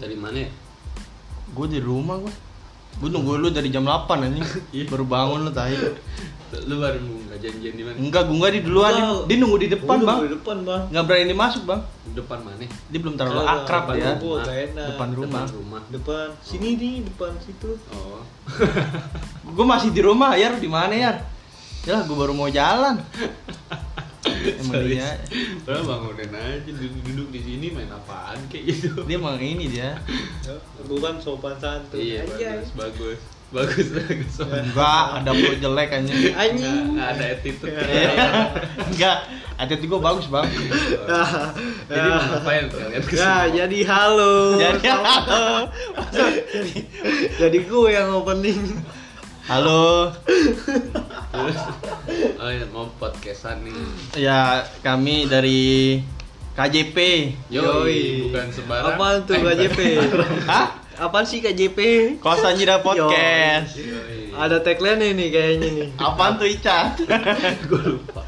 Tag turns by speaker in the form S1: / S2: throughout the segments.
S1: dari mana ya?
S2: Gue di rumah gue. Gue nunggu lu dari jam 8 anjing.
S1: Iya.
S2: Baru bangun lu tahi.
S1: Lu baru nggak janjian di mana?
S2: Enggak, gue enggak di duluan.
S3: Enggak.
S2: Dia- Dia nunggu di depan,
S3: Udah,
S2: Bang.
S3: Di depan, Bang.
S2: Enggak berani masuk, Bang.
S1: Depan mana?
S2: Dia belum terlalu
S3: Enggak,
S2: akrab
S3: depan
S2: ya.
S3: rumput, gak enak.
S2: Depan rumah.
S1: Depan rumah.
S3: Depan. Sini nih, depan situ.
S1: Oh.
S2: Gue masih di rumah, Yar. Di mana, Yar? Ya, gue baru mau jalan. Emang
S1: Sorry.
S2: dia,
S1: Padahal bangunin aja duduk, duduk di sini main apaan kayak gitu.
S2: dia emang ini dia.
S3: Bukan Ya, sopan santun.
S1: Iya,
S3: Anjay.
S1: bagus, bagus. Bagus, bagus.
S2: Enggak, ada bro jelek anjing.
S1: Nggak-
S3: Anjing.
S1: nggak ada attitude. gitu.
S2: Enggak, attitude gue bagus bang
S1: Jadi mau ngapain kalian
S3: Ya,
S1: kesini?
S3: jadi halo.
S2: Jadi
S3: jadi gue yang opening.
S2: Halo
S1: Terus, oh iya, mau podcastan nih.
S2: Ya kami dari KJP
S1: Yoi, bukan sembarang.
S3: Apaan tuh
S1: Eh, bukan
S3: KJP?
S1: sembarang.
S2: Hah?
S3: Apaan sih KJP?
S2: Iya. Kosanjira Podcast
S1: Yoi.
S3: Ada tagline ini kayaknya nih.
S2: Apaan tuh Ica?
S1: gue lupa.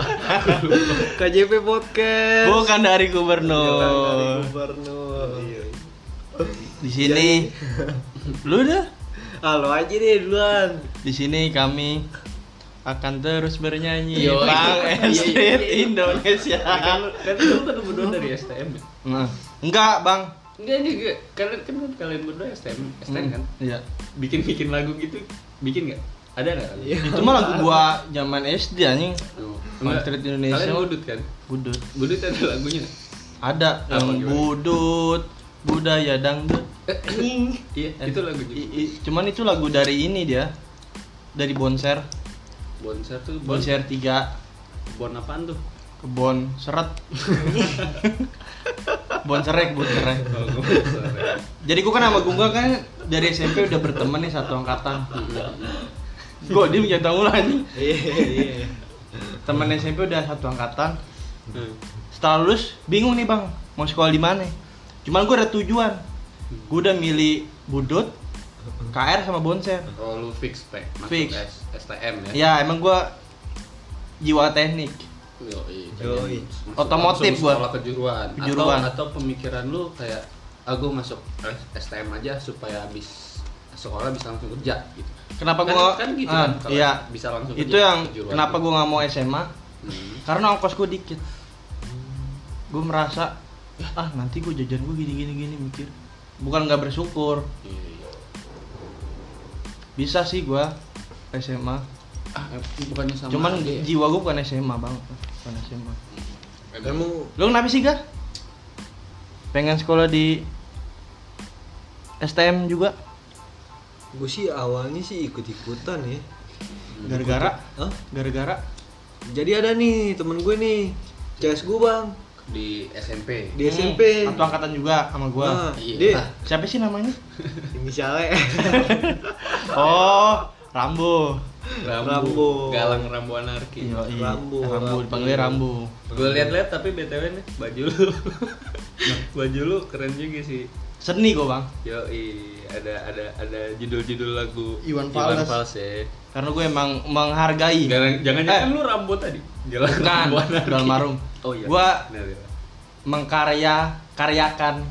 S3: KJP podcast.
S2: Bukan
S1: Iya,
S2: dari
S3: Jalan dari
S2: gubernur
S3: Gubernur.
S2: Di sini
S1: Iya.
S2: Lu dah
S3: Halo aja deh duluan.
S2: Di sini kami akan terus bernyanyi
S1: Yoi.
S2: Bang
S1: Iya, iya,
S2: Street
S1: iya.
S2: Indonesia
S1: Kan lu- kan lu kan berdua dari STM ya?
S2: Nah, Enggak bang
S1: Enggak juga. Kalian kan kan kalian berdua STM, STM kan?
S2: Iya
S1: Bikin-bikin lagu gitu, bikin nggak? Ada nggak? lagu?
S2: Itu mah lagu gua zaman SD anjing
S1: Tuh.
S2: Bang Street Indonesia.
S1: Kalian ngudut kan?
S2: Budut
S1: Budut ada lagunya nggak?
S2: Ada
S1: Apa,
S2: yang
S1: gimana?
S2: budut budaya dangdut.
S1: Iya, itu lagunya.
S2: I- i- Cuman itu lagu dari ini dia. Dari Bonser,
S1: Bonser tuh bon,
S2: Bonser 3
S1: bon apaan tuh?
S2: kebon seret. bonserek, bonserek.
S1: Kalau gua Bonser ya.
S2: Jadi gua kan sama Gungga kan dari SMP udah berteman nih satu angkatan. Gua dia jangan tahu lah nih.
S3: Iya, iya.
S2: Teman SMP udah satu angkatan.
S1: Hmm.
S2: Setelah lulus bingung nih bang mau sekolah di mana. Cuman gua ada tujuan. Gua udah milih Budut, KR sama Bonser.
S1: Oh, lu fix pack masuk
S2: Fix.
S1: S- STM ya?
S2: Ya emang gua jiwa teknik.
S1: Yoi,
S3: Yoi.
S1: Masuk
S2: Otomotif
S1: langsung
S2: gua.
S1: Sekolah kejuruan.
S2: Kejuruan.
S1: Atau, atau pemikiran lu kayak ah gua masuk STM aja supaya habis sekolah bisa langsung kerja gitu.
S2: Kenapa
S1: Kan-
S2: gua
S1: kan gitu
S2: Ah,
S1: kan, kalau
S2: iya.
S1: bisa langsung
S2: Itu
S1: kerja,
S2: yang
S1: kejuruan
S2: kenapa
S1: gitu.
S2: gua nggak mau SMA?
S1: Hmm.
S2: Karena ongkos gua dikit. Gua merasa ah nanti gua jajan gua gini gini gini mikir. Bukan nggak bersyukur.
S1: Iya, iya.
S2: Bisa sih gua SMA.
S1: Ah, bukannya sama
S2: Cuman
S1: aja ya?
S2: jiwa gua bukan SMA, Bang. Bukan SMA.
S1: Emang
S3: Kamu
S2: Lu kenapa sih, Ga? Pengen sekolah di STM juga
S3: gue sih awalnya sih ikut-ikutan ya.
S2: gara-gara
S3: Hah?
S2: gara-gara
S3: Jadi ada nih temen gue nih. CS gue bang
S1: di SMP.
S3: di SMP.
S2: Hmm, satu angkatan juga sama Eh, gua.
S3: Nah,
S1: Iya.
S3: dia
S1: Ah.
S2: Siapa sih namanya?
S3: inisialnya
S2: Oh, Rambo.
S1: Rambu.
S3: Rambu.
S1: Galang Rambu anarki.
S2: Iya, iya.
S3: Rambo,
S2: Rambo,
S3: Rambo.
S2: dipanggilnya Rambo.
S1: Gue liat-liat tapi btw nih baju lu, baju lu keren juga sih.
S2: Seni gua, Bang.
S1: Yoi, ada ada ada judul-judul lagu
S2: Iwan Fals.
S1: ya.
S2: Karena gue emang menghargai.
S1: Jangan jangan jangan
S2: Eh.
S1: lu Rambo tadi. Galang
S2: Bukan,
S1: Rambu anarki.
S2: Dalmarum.
S1: Oh iya.
S2: Gua
S1: Benar, iya.
S2: mengkarya karyakan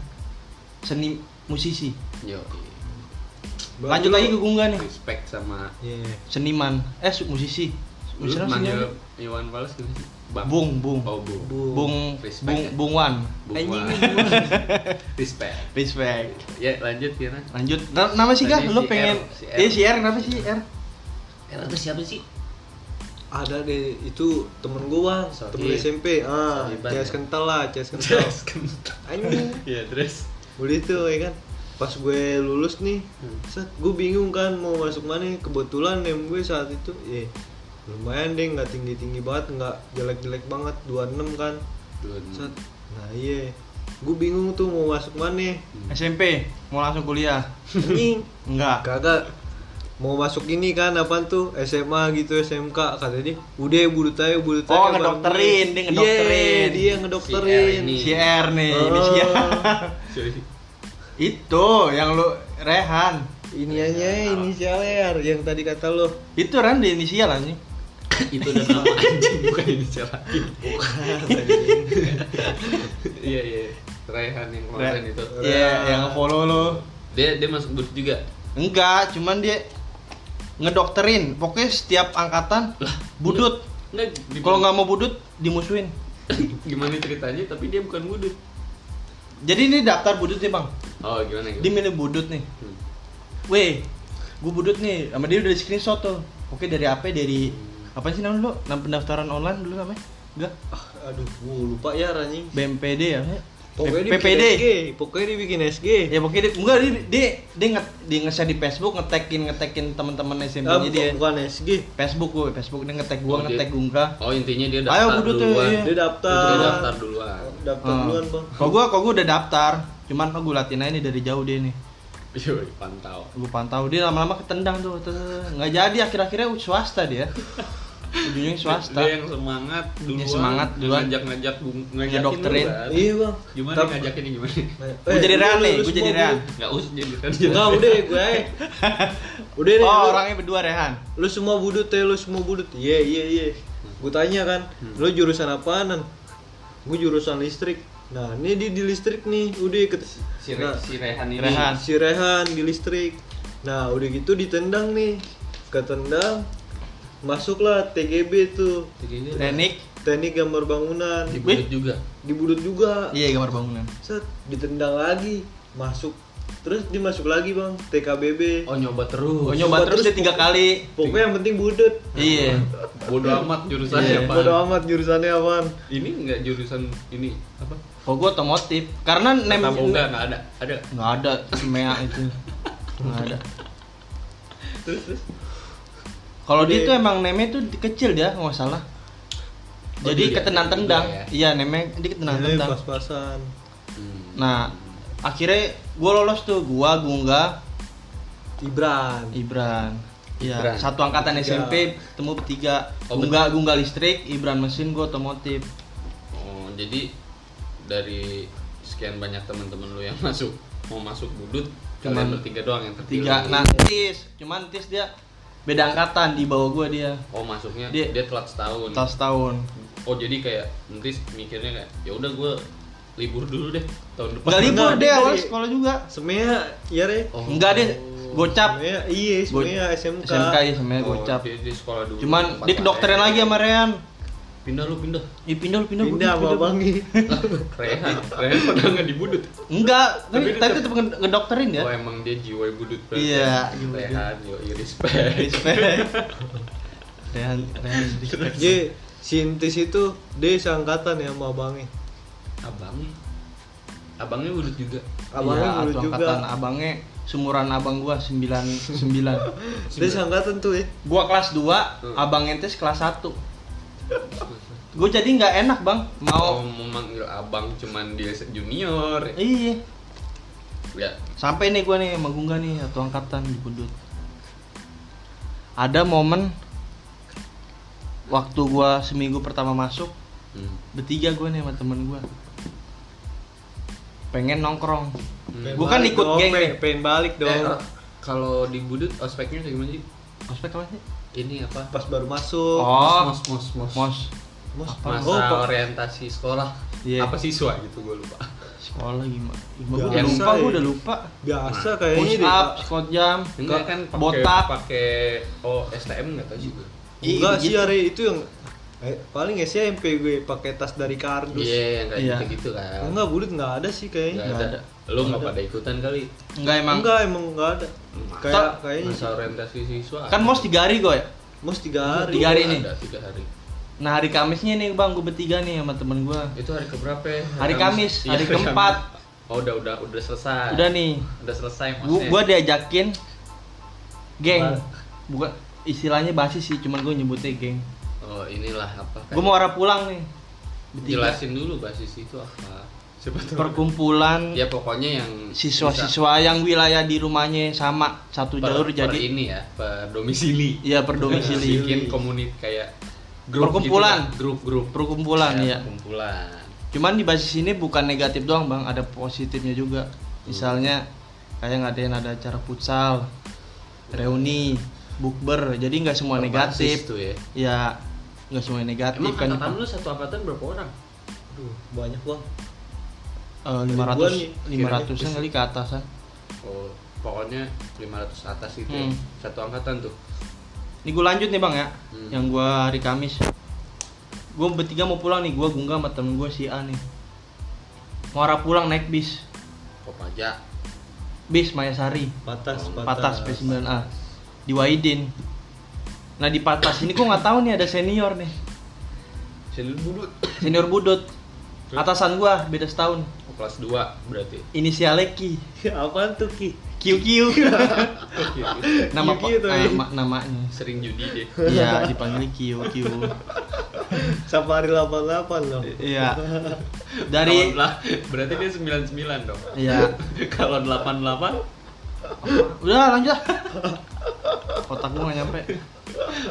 S2: seni musisi.
S1: Yoi.
S2: Lanjut lagi ke Gungga nih.
S1: Respect sama
S3: Iya.
S2: Seniman, eh su- musisi.
S1: lu
S2: Musisi apa
S1: manggil
S2: seniman?
S1: Iwan Fals gitu sih. Bang.
S2: Bung, Bung.
S1: Oh, Bung.
S3: Bu.
S2: Bung
S1: Respect, ya. Eh,
S2: Bung Bung Wan.
S1: Bung
S3: Anjing,
S1: Wan.
S3: Bung.
S1: Respect.
S2: Respect.
S1: Ya, lanjut Kira.
S2: Lanjut. Na- Nama sih Ga?
S1: Tadi
S2: Lu
S1: si
S2: pengen
S1: R, si R.
S2: Eh si R kenapa sih R?
S1: Eh, itu siapa sih?
S3: ada deh itu temen gue bang
S1: Sohib.
S3: temen SMP ah
S1: Sohiban,
S3: CS
S1: ya?
S3: kental lah CS kental
S1: Terus kentang.
S3: anjing
S1: Iya, terus.
S3: boleh tuh ya kan pas gue lulus nih set gue bingung kan mau masuk mana kebetulan name gue saat itu ya lumayan deh nggak tinggi tinggi banget nggak jelek jelek banget 26 kan set nah iya gue bingung tuh mau masuk mana
S2: SMP mau langsung kuliah.
S3: anjing
S2: Enggak.
S3: kagak mau masuk ini kan apaan tuh SMA gitu SMK katanya udah budut aja budut aja
S2: Oh,
S3: Bang.
S2: ngedokterin, dia
S3: Iya,
S2: ngedokterin.
S3: dia
S1: Si R
S3: ngedokterin
S1: ini.
S2: Si R nih,
S1: Oh.
S2: ini si R.
S1: Jadi,
S2: Itu yang lu Rehan.
S3: ini
S2: Iya.
S3: aja ini si R yang tadi kata lo
S2: Itu Rehan di inisial anjing.
S1: itu udah nama anjing bukan inisial lagi. Iya, iya. Rehan yang kemarin itu
S2: Iya, yang follow lo.
S1: dia dia masuk bus juga
S2: Enggak, cuman dia ngedokterin. Pokoknya setiap angkatan budut.
S1: Nggak, di-
S2: Kalau nggak mau budut dimusuhin.
S1: gimana ceritanya tapi dia bukan budut
S2: Jadi ini daftar budut nih, Bang.
S1: oh gimana
S2: Dia
S1: gimana
S2: milih budut nih.
S1: Hmm.
S2: Weh, gue budut nih. Sama dia udah di screenshot tuh. Oke, dari apa? Dari apa sih namanya lu? Nama pendaftaran online dulu namanya? Enggak,
S3: Ah, aduh gua lupa ya anjing
S2: BMPD ya. namanya?
S3: pokoknya dia gitu. bikin
S2: PPD.
S3: SG pokoknya dia bikin SG
S2: Ya pokoknya dia, enggak dia dia dia, nge, dia nge-share di Facebook ngetekin ngetekin teman-teman
S3: Ah,
S2: SMP-nya
S3: bukan,
S2: dia.
S3: bukan SG
S2: Facebook gue, Facebook dia ngetek
S1: Oh,
S2: gua,
S1: dia-
S2: ngetek Gungga.
S1: oh intinya dia
S2: Ayo,
S1: daftar
S2: budut ya,
S1: duluan
S2: iya.
S3: dia daftar
S1: dia daftar duluan
S3: daftar
S2: Ah.
S3: duluan bang
S2: Kalau gua kalau gua udah daftar, cuman kok gua latihan aja nih dari jauh dia nih.
S1: Yoi, pantau
S2: Gua pantau dia lama-lama ketendang tuh. tuh. Nggak jadi akhir-akhirnya swasta dia. Ujungnya swasta.
S1: dia yang semangat duluan
S2: Yang semangat duluan.
S1: ngajak ngajak ngajakin
S2: dokterin.
S1: duluan.
S3: iya bang Eh,
S1: gimana
S3: Tapi-
S1: ngajakinnya gimana
S2: Gua jadi real nih, gua jadi real.
S1: nggak usah jadi kan
S3: Ya Enggak, udah gue aja. Udah deh.
S2: Oh,
S3: lu-
S2: orangnya berdua Rehan.
S3: Lu semua budut ya, lu semua budut. Iya, iya, iya. Gue tanya kan,
S1: Hmm.
S3: lu jurusan apaanan? Gue jurusan listrik. Nah, ini dia di listrik nih. Udah ikut.
S1: si, Re,
S3: Nah,
S1: si Rehan ini
S2: Rehan.
S3: si Rehan di listrik. Nah, udah gitu ditendang nih. Ketendang. Masuklah TGB tuh.
S1: Segini
S2: Renik.
S3: Teknik gambar bangunan.
S1: di budut juga
S3: Dibudut juga.
S2: Iya, gambar bangunan.
S3: Set, ditendang lagi. Masuk. Terus dimasuk lagi, Bang. TKBB.
S1: oh nyoba terus Hmm.
S2: Oh, nyoba terus dia tiga kali.
S3: Pokoknya yang penting budut.
S2: Iya.
S1: bodoh amat
S3: Iya,
S1: jurusannya
S3: bodo
S1: apa
S3: amat jurusannya apaan
S1: ini nggak jurusan ini apa
S2: Kalau gua otomotif, karena nem
S1: Kata boga nggak ada ada
S2: nggak ada semea itu. Nggak ada.
S1: terus terus
S2: Kalau dia
S3: Udah.
S2: tuh emang nemnya tuh di- kecil dia, nggak salah.
S1: Oh,
S2: Jadi
S1: dia-
S2: ketenang-tendang.
S1: dia ya.
S2: Iya, nemnya dia
S3: Ini
S2: ketenang-tendang.
S3: pas-pasan
S1: Hmm.
S2: Nah, akhirnya gue lolos tuh, gua, Gungga,
S3: Ibran
S1: Ibran.
S2: Ibran. Iya, satu angkatan
S3: Bertiga.
S2: SMP temu bertiga.
S1: Oh,
S2: Gungga, Gungga listrik, Ibran mesin, gua otomotif.
S1: oh jadi dari sekian banyak teman-teman lu yang masuk mau masuk budut kalian
S2: Cuman
S1: bertiga doang yang terpilih
S2: Tiga. Nah, Tis, cuman Tis dia beda angkatan di bawah gua dia.
S1: oh masuknya dia,
S2: Dia-
S1: telat setahun
S2: Tas tahun.
S1: oh jadi kayak nanti mikirnya kayak ya udah gue libur dulu deh tahun depan
S2: Enggak libur dia
S3: Enggak, dia
S2: awal
S3: dari-
S2: sekolah juga.
S3: Semea iya re
S1: Oh.
S2: Enggak deh, gocap.
S3: Semea iya semea SMK
S2: SMK ya sebenarnya
S1: Oh,
S2: gocap.
S1: dia di sekolah dulu
S2: Cuman
S1: tempat
S2: dia kedokteran
S1: lain.
S2: lagi sama Rehan.
S1: pindah lu pindah
S2: Ih, pindah lu, pindah gua,
S3: Pindah sama Bangi
S1: Lah, Rehan Rehan pernah nggak di budut
S2: Enggak,
S1: Tapi
S2: tapi
S1: dia
S2: tapi
S1: tetep-
S2: tetep nged- ngedokterin ya.
S1: oh emang dia jiwa budut
S2: Iya, jiwa
S1: Rehan yo respect
S2: respect Rehan Rehan respect
S3: J Sintis itu dia seangkatan ya sama Bangi
S1: abangnya abangnya budut juga
S3: Abangnya
S2: Iya,
S3: dulu
S2: atuh
S3: juga
S2: angkatan abangnya sumuran abang gua 99
S3: Dia seangkatan tuh ya
S2: gua kelas 2
S1: Hmm.
S2: abang entes kelas 1 gua jadi nggak enak bang
S1: Oh,
S2: mau
S1: mau manggil abang cuman dia se- junior.
S2: iya
S1: Ya,
S2: sampai nih gua nih sama Gungga nih satu angkatan di Budut ada momen waktu gua seminggu pertama masuk
S1: Hmm.
S2: bertiga gua nih sama temen gua pengen nongkrong
S1: Hmm.
S2: Gua kan
S3: Balik
S2: ikut
S3: dong,
S2: geng
S3: Pe.
S2: nih.
S3: Pengen balik dong
S1: Eh, kalau di budut ospeknya kayak gimana sih?
S2: ospek apa sih
S1: Ini apa?
S3: Pas baru masuk
S2: oh
S1: mos mos mos.
S2: mos
S3: Mas,
S1: Masa
S3: oh, Pak.
S1: orientasi sekolah.
S2: Iya.
S1: Apa siswa gitu gue lupa.
S2: sekolah gimana gimana gua udah
S3: Biasa,
S2: lupa
S3: ya.
S2: gua udah lupa
S3: Biasa
S2: push
S3: kayaknya deh
S2: up
S3: Pak.
S2: squat jam
S1: Enggak kan pakai
S2: botak.
S1: pakai oh STM enggak tahu juga.
S2: Ih,
S3: Enggak sih
S2: gitu.
S3: ya Re, itu yang eh, Paling SMP gue pakai tas dari kardus
S1: Iya, yang kayak
S2: Iya.
S1: gitu-gitu kan.
S3: Enggak, budut enggak ada sih
S1: Enggak
S3: kayaknya.
S2: Nggak
S1: ada. Lu enggak pada ikutan kali.
S2: enggak emang
S3: Enggak, emang enggak ada.
S1: Masa-
S3: Kayak kayaknya
S1: Masa
S3: sih.
S1: orientasi siswa.
S2: kan mos tiga hari gue
S3: Mus tiga hari.
S2: Tiga hari nih.
S1: Ada tiga hari.
S2: nah hari Kamisnya nih bang gua bertiga nih sama temen gua
S1: Itu hari keberapa? ya?
S2: Hari Kamis,
S1: Iya,
S2: hari keempat.
S1: Kamis. Oh, udah udah udah selesai.
S2: udah nih
S1: udah selesai
S2: gua,
S1: maksudnya.
S2: gua diajakin geng
S1: Apa?
S2: bukan istilahnya basis sih cuman gua nyebutnya geng
S1: Oh, inilah apa?
S2: gua mau arah pulang nih bertiga
S1: jelasin dulu basis itu apa. Siapa tahu.
S2: perkumpulan
S1: Ya pokoknya yang
S2: siswa-siswa yang wilayah di rumahnya sama satu
S1: bisa per,
S2: jalur
S1: per
S2: jadi
S1: ini ya, per domisili.
S2: ya per domisili
S1: Bikin komunit kayak gitu
S2: Perkumpulan.
S1: kan, grup-grup
S2: perkumpulan
S1: Iya,
S2: ya
S1: Perkumpulan.
S2: Cuman di basis ini bukan negatif doang bang, ada positifnya juga. Misalnya kayak ngadain ada acara futsal, reuni, bukber, jadi nggak semua
S1: Berbasis
S2: negatif.
S1: tuh ya.
S2: Ya nggak semua negatif
S1: Emang
S2: kan.
S1: angkatan lu satu angkatan berapa orang?
S3: Aduh, banyak bang.
S2: Eh, lima ratus
S3: Ribuan nih,
S2: lima ratusan
S3: kiranya.
S2: kali ke ah. atasan
S1: oh pokoknya 500 atas gitu ya.
S2: Hmm.
S1: satu angkatan tuh
S2: ini gue lanjut nih bang ya
S1: Hmm.
S2: yang gue hari Kamis gue bertiga mau pulang nih gue gunggah sama temen gue si A nih mau arah pulang naik bis
S1: kok pajak
S2: bis Mayasari
S3: Patas,
S2: Patas P9A di Wahidin nah di Patas ini gue nggak tahu nih ada senior nih
S1: sini dulu
S2: senior budut atasan gue beda setahun
S1: Oh, kelas 2 berarti
S2: inisialnya Ki
S3: Ya, Apaan tuh Ki?
S2: Kiu Kiu nama
S3: Kiu Kiu tuh,
S2: eh,
S3: ya.
S2: ma- namanya
S1: sering judi deh
S2: Iya dipanggil Kiu Kiu
S3: Safari 88 loh.
S2: Iya dari
S1: Kalau lah berarti dia 99 dong
S2: Iya
S1: kalau 88
S2: udah lanjut lah. otak gue gak nyampe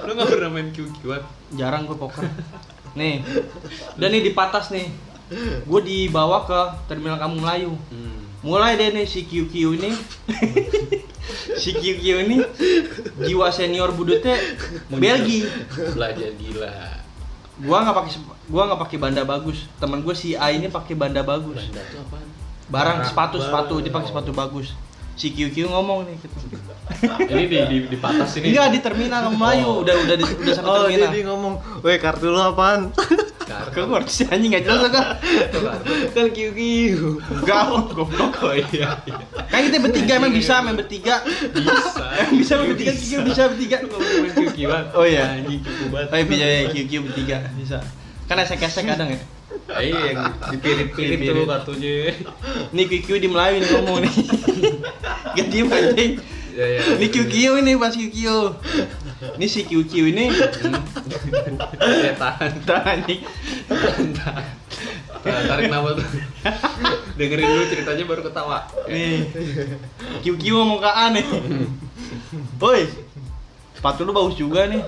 S1: lu nggak pernah main QQ-an
S2: jarang gue poker nih udah nih di patas nih gue dibawa ke terminal kampung Melayu
S1: hmm.
S2: mulai deh nih si QQ ini si QQ ini jiwa senior budutnya Belgi
S1: belajar gila
S2: gua nggak pakai sep- gua nggak pakai banda bagus temen gue si A ini pakai banda bagus
S1: Belanda tuh apaan
S2: barang
S1: Barang.
S2: sepatu sepatu dia pakai
S3: Barang.
S2: sepatu bagus si QQ ngomong nih gitu.
S1: ini di di, di patas ini
S2: enggak Iya, di terminal kampung Melayu Oh. udah udah di, udah sampai
S3: Oh,
S2: terminal
S3: jadi ngomong, "Weh, kartu lu apaan?"
S1: Kartu.
S2: Kau ngerti sih anjing gak jelas kan?
S3: kan kiu kiu.
S2: Gaul goblok
S1: oh iya, iya.
S2: Kan kita bertiga emang bisa main bertiga.
S1: bisa
S2: Emang bisa main bertiga, QQ bisa bertiga.
S1: Lu nggak pernah main QQ-an
S2: Oh iya.
S1: anjing cukup banget
S2: Oh iya bisa ya QQ bertiga bisa. Kan esek-esek kadang ya.
S1: Eh, yang dipirit-pirit tuh
S2: Pirit-pirit.
S1: kartunya
S2: Nih QQ di Melayu nih ngomong nih. Gak diem anjing.
S1: ya, ya.
S2: Ini QQ ini pas QQ. Ini si QQ ini
S1: ya tahan
S2: entar anjing.
S1: Nah, tarik nama tuh dengerin dulu ceritanya baru ketawa
S2: Nih. QQ ngomong ke A nih. Woi. Sepatu lu bagus juga nih.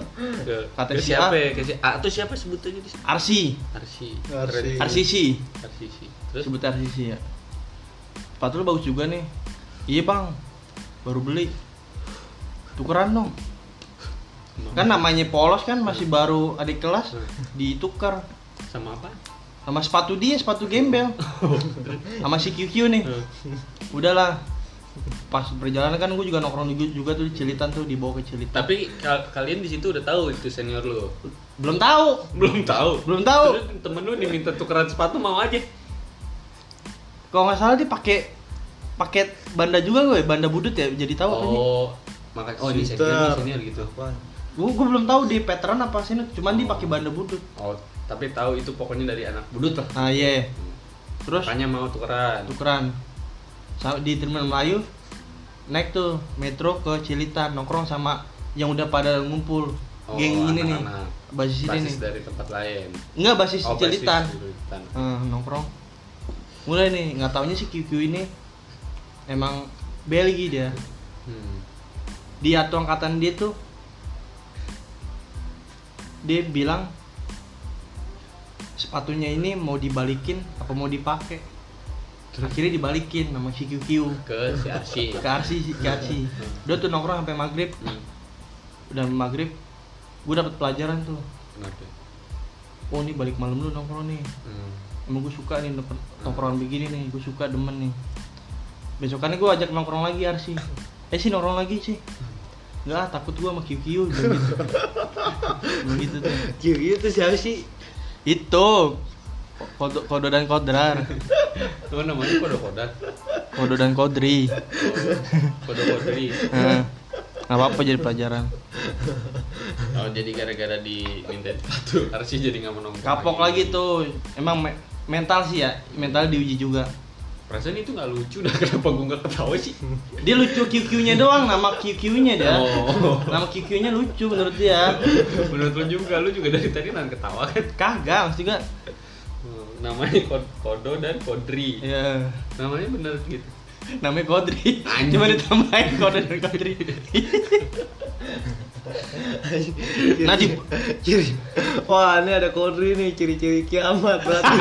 S1: Ke-
S2: Kata
S1: ke
S2: si
S1: siapa
S2: A.
S1: ya? Ke si A tuh siapa sebutannya di
S2: Arsi.
S1: Arsi
S3: Arsi.
S2: RCC.
S1: Arsisi terus
S2: sebut RCC ya sepatu lu bagus juga nih iya bang baru beli tukeran dong kan namanya polos kan masih baru adik kelas ditukar
S1: sama apa
S2: sama sepatu dia sepatu gembel sama si QQ nih
S1: Eh,
S2: udahlah pas perjalanan kan gue juga nongkrong juga, juga tuh di Cilitan tuh dibawa ke Cilitan
S1: tapi kal- kalian di situ udah tahu itu senior lo
S2: belum tahu
S1: belum tahu
S2: Belum tahu.
S1: terus temen lu diminta tukeran sepatu mau aja
S2: kalau nggak salah dia pakai paket banda juga gue banda budut ya jadi tahu apa sih?
S1: oh makanya oh ini senior
S3: Sister.
S1: ini senior gitu
S3: Apaan?
S2: gue gue belum tahu di veteran apa sih cuman dia pakai banda budut
S1: oh tapi tahu itu pokoknya dari anak budut lah
S2: Nah iya. Terus
S1: makanya mau tukeran
S2: tukeran Sa- di Terminal Melayu naik tuh metro ke Cilitan nongkrong sama yang udah pada ngumpul
S1: Oh,
S2: geng ini nih
S1: anak-anak.
S2: basis ini nih
S1: basis dari tempat lain
S2: nggak basis
S1: Oh, basis
S2: Cilitan
S1: Cilitan.
S2: Eh, nongkrong mulai nih nggak taunya si QQ ini emang Belgi dia
S1: Hmm.
S2: dia tuh angkatan dia tuh dia bilang sepatunya ini mau dibalikin apa mau dipakai akhirnya dibalikin sama si QQ
S1: ke si Arsi
S2: ke Arsi si- ke Arsi udah tuh nongkrong sampai maghrib
S1: Hmm.
S2: udah maghrib gue dapet pelajaran tuh
S1: Kenapa?
S2: oh ini balik malam lu nongkrong nih
S1: Hmm.
S2: emang gue suka nih nongkrong- nongkrong begini nih gue suka demen nih besokannya gue ajak nongkrong lagi Arsi eh sih nongkrong lagi sih Enggak, takut gue sama QQ gitu. Begitu tuh.
S3: Kiu kiu tuh siapa sih?
S2: Itu kodo, kodo dan kodrar,
S1: Oh, namanya kode kodat.
S2: kodo dan kodri.
S1: Kode kodri.
S2: Nah, nggak apa-apa jadi pelajaran.
S1: Oh, jadi gara-gara di Nintendo sepatu Arsi jadi nggak menang.
S2: Kapok lagi tuh, emang me- mental sih ya, mental diuji juga.
S1: Perasaan itu nggak lucu dah kenapa gue nggak ketawa sih?
S2: Dia lucu QQ-nya doang, nama QQ-nya dia.
S1: Oh.
S2: Nama QQ-nya lucu menurut dia.
S1: Menurut lu juga lu juga dari tadi nahan ketawa kan?
S2: Kagak, maksud juga.
S1: Hmm, Namanya kod- kodo dan kodri.
S2: Ya,
S1: Namanya bener gitu.
S2: namanya Kodri.
S1: Anjing.
S2: Cuma ditambahin Kodo dan Kodri. Nah, di-
S3: ciri. Wah, ini ada kodri nih, ciri-ciri kiamat berarti.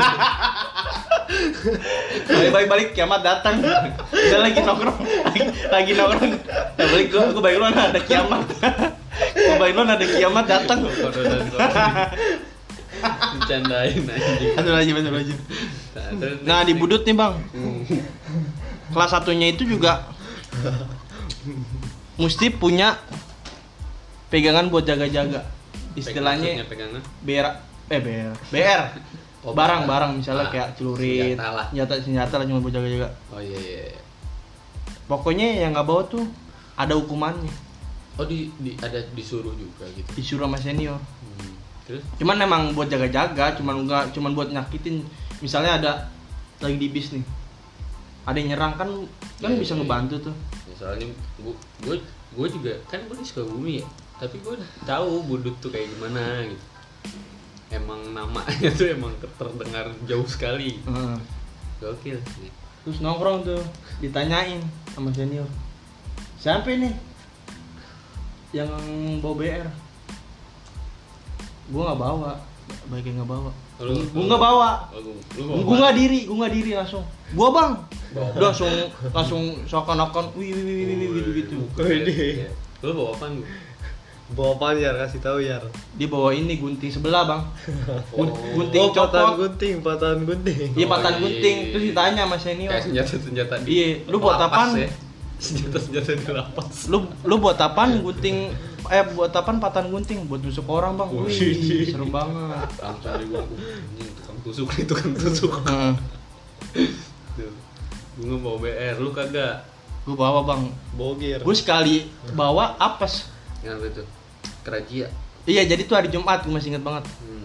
S2: balik balik kiamat datang udah lagi nongkrong lagi, lagi nongkrong nah, balik gua gua bayar loan ada kiamat gua bayar loan ada kiamat
S1: Oh,
S2: datang
S1: Kodo dan kodri. Bercandain anjing.
S2: aduh lagi aduh lagi
S1: terus-
S2: Nah di Budut nih bang,
S1: Hmm.
S2: kelas satunya itu juga mesti punya pegangan buat jaga-jaga. Istilahnya
S1: Maksudnya pegangan
S2: BR, eh BR, BR,
S1: Oh,
S2: barang-barang
S1: Ah,
S2: misalnya kayak celurit,
S1: senjata lah.
S2: senjata, senjata lah cuma buat jaga-jaga.
S1: oh iya, iya iya.
S2: Pokoknya yang nggak bawa tuh ada hukumannya,
S1: oh di, di ada disuruh juga gitu
S2: disuruh sama senior.
S1: Hmm. terus
S2: Cuman emang buat jaga-jaga, cuman nggak, cuman buat nyakitin. Misalnya ada lagi di bis nih, ada yang nyerang kan, kan
S1: Iya, iya,
S2: bisa
S1: iya.
S2: ngebantu tuh.
S1: ya, soalnya gue gue juga kan gue di Sukabumi ya tapi gue udah tahu budut tuh kayak gimana gitu emang namanya tuh emang terdengar jauh sekali
S2: Heeh.
S1: gokil sih
S2: terus nongkrong tuh ditanyain sama senior siapa ini yang bawa BR gua nggak bawa baik yang nggak bawa
S1: Lu-
S2: gua nggak bawa
S1: oh, lu, lu bawa
S2: gua
S1: apa?
S2: nggak diri gua nggak diri langsung gua bang udah langsung langsung seakan-akan wih wih wih wih wih gitu gitu
S1: Iya. lu bawa apa nih
S3: Bawa apaan Yar? Kasih tahu Yar
S2: dia bawa ini gunting sebelah bang Gun- gunting
S3: Oh,
S2: copot
S3: patahan gunting, patahan gunting
S2: iya
S1: Oh,
S2: patan
S1: iya.
S2: gunting terus ditanya sama senior
S1: kayak senjata senjata di
S2: iya lu buat
S1: lapas
S2: apaan
S1: ya. senjata senjata di lapas
S2: lu lu buat apaan gunting eh buat apaan patan gunting buat nusuk orang bang wih seru banget
S1: langsung di gua anjing tukang tusuk nih tukang tusuk
S2: Heeh.
S1: Tuh. gua nggak bawa BR lu kagak
S2: gue bawa bang
S3: Bogir
S2: gue sekali bawa apes
S1: yang itu kerajia
S2: iya jadi tuh hari Jumat gue masih inget banget
S1: hmm.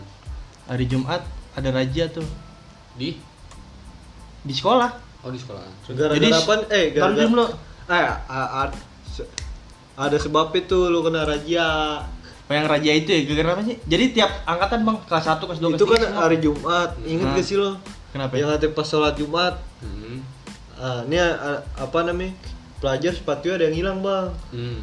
S2: hari Jumat ada razia tuh
S1: di
S2: di sekolah
S1: oh di sekolah
S3: Gara-gara apaan? Eh,
S2: taruh diem
S3: gara-gara
S2: lu
S3: Eh, a- a- se- ada sebab itu lu kena razia
S2: Oh, yang razia itu ya gara-gara apa sih jadi tiap angkatan bang kelas 1, kelas 2,
S3: Itu
S2: kelas
S3: kan
S2: 3
S3: hari Iya Jumat, inget
S2: Hmm.
S3: gak sih lo?
S2: kenapa ya?
S3: Yang nanti pas sholat Jumat
S1: hmm.
S3: ah, Ini ah, apa namanya? Pelajar sepatunya ada yang hilang bang
S1: Hmm.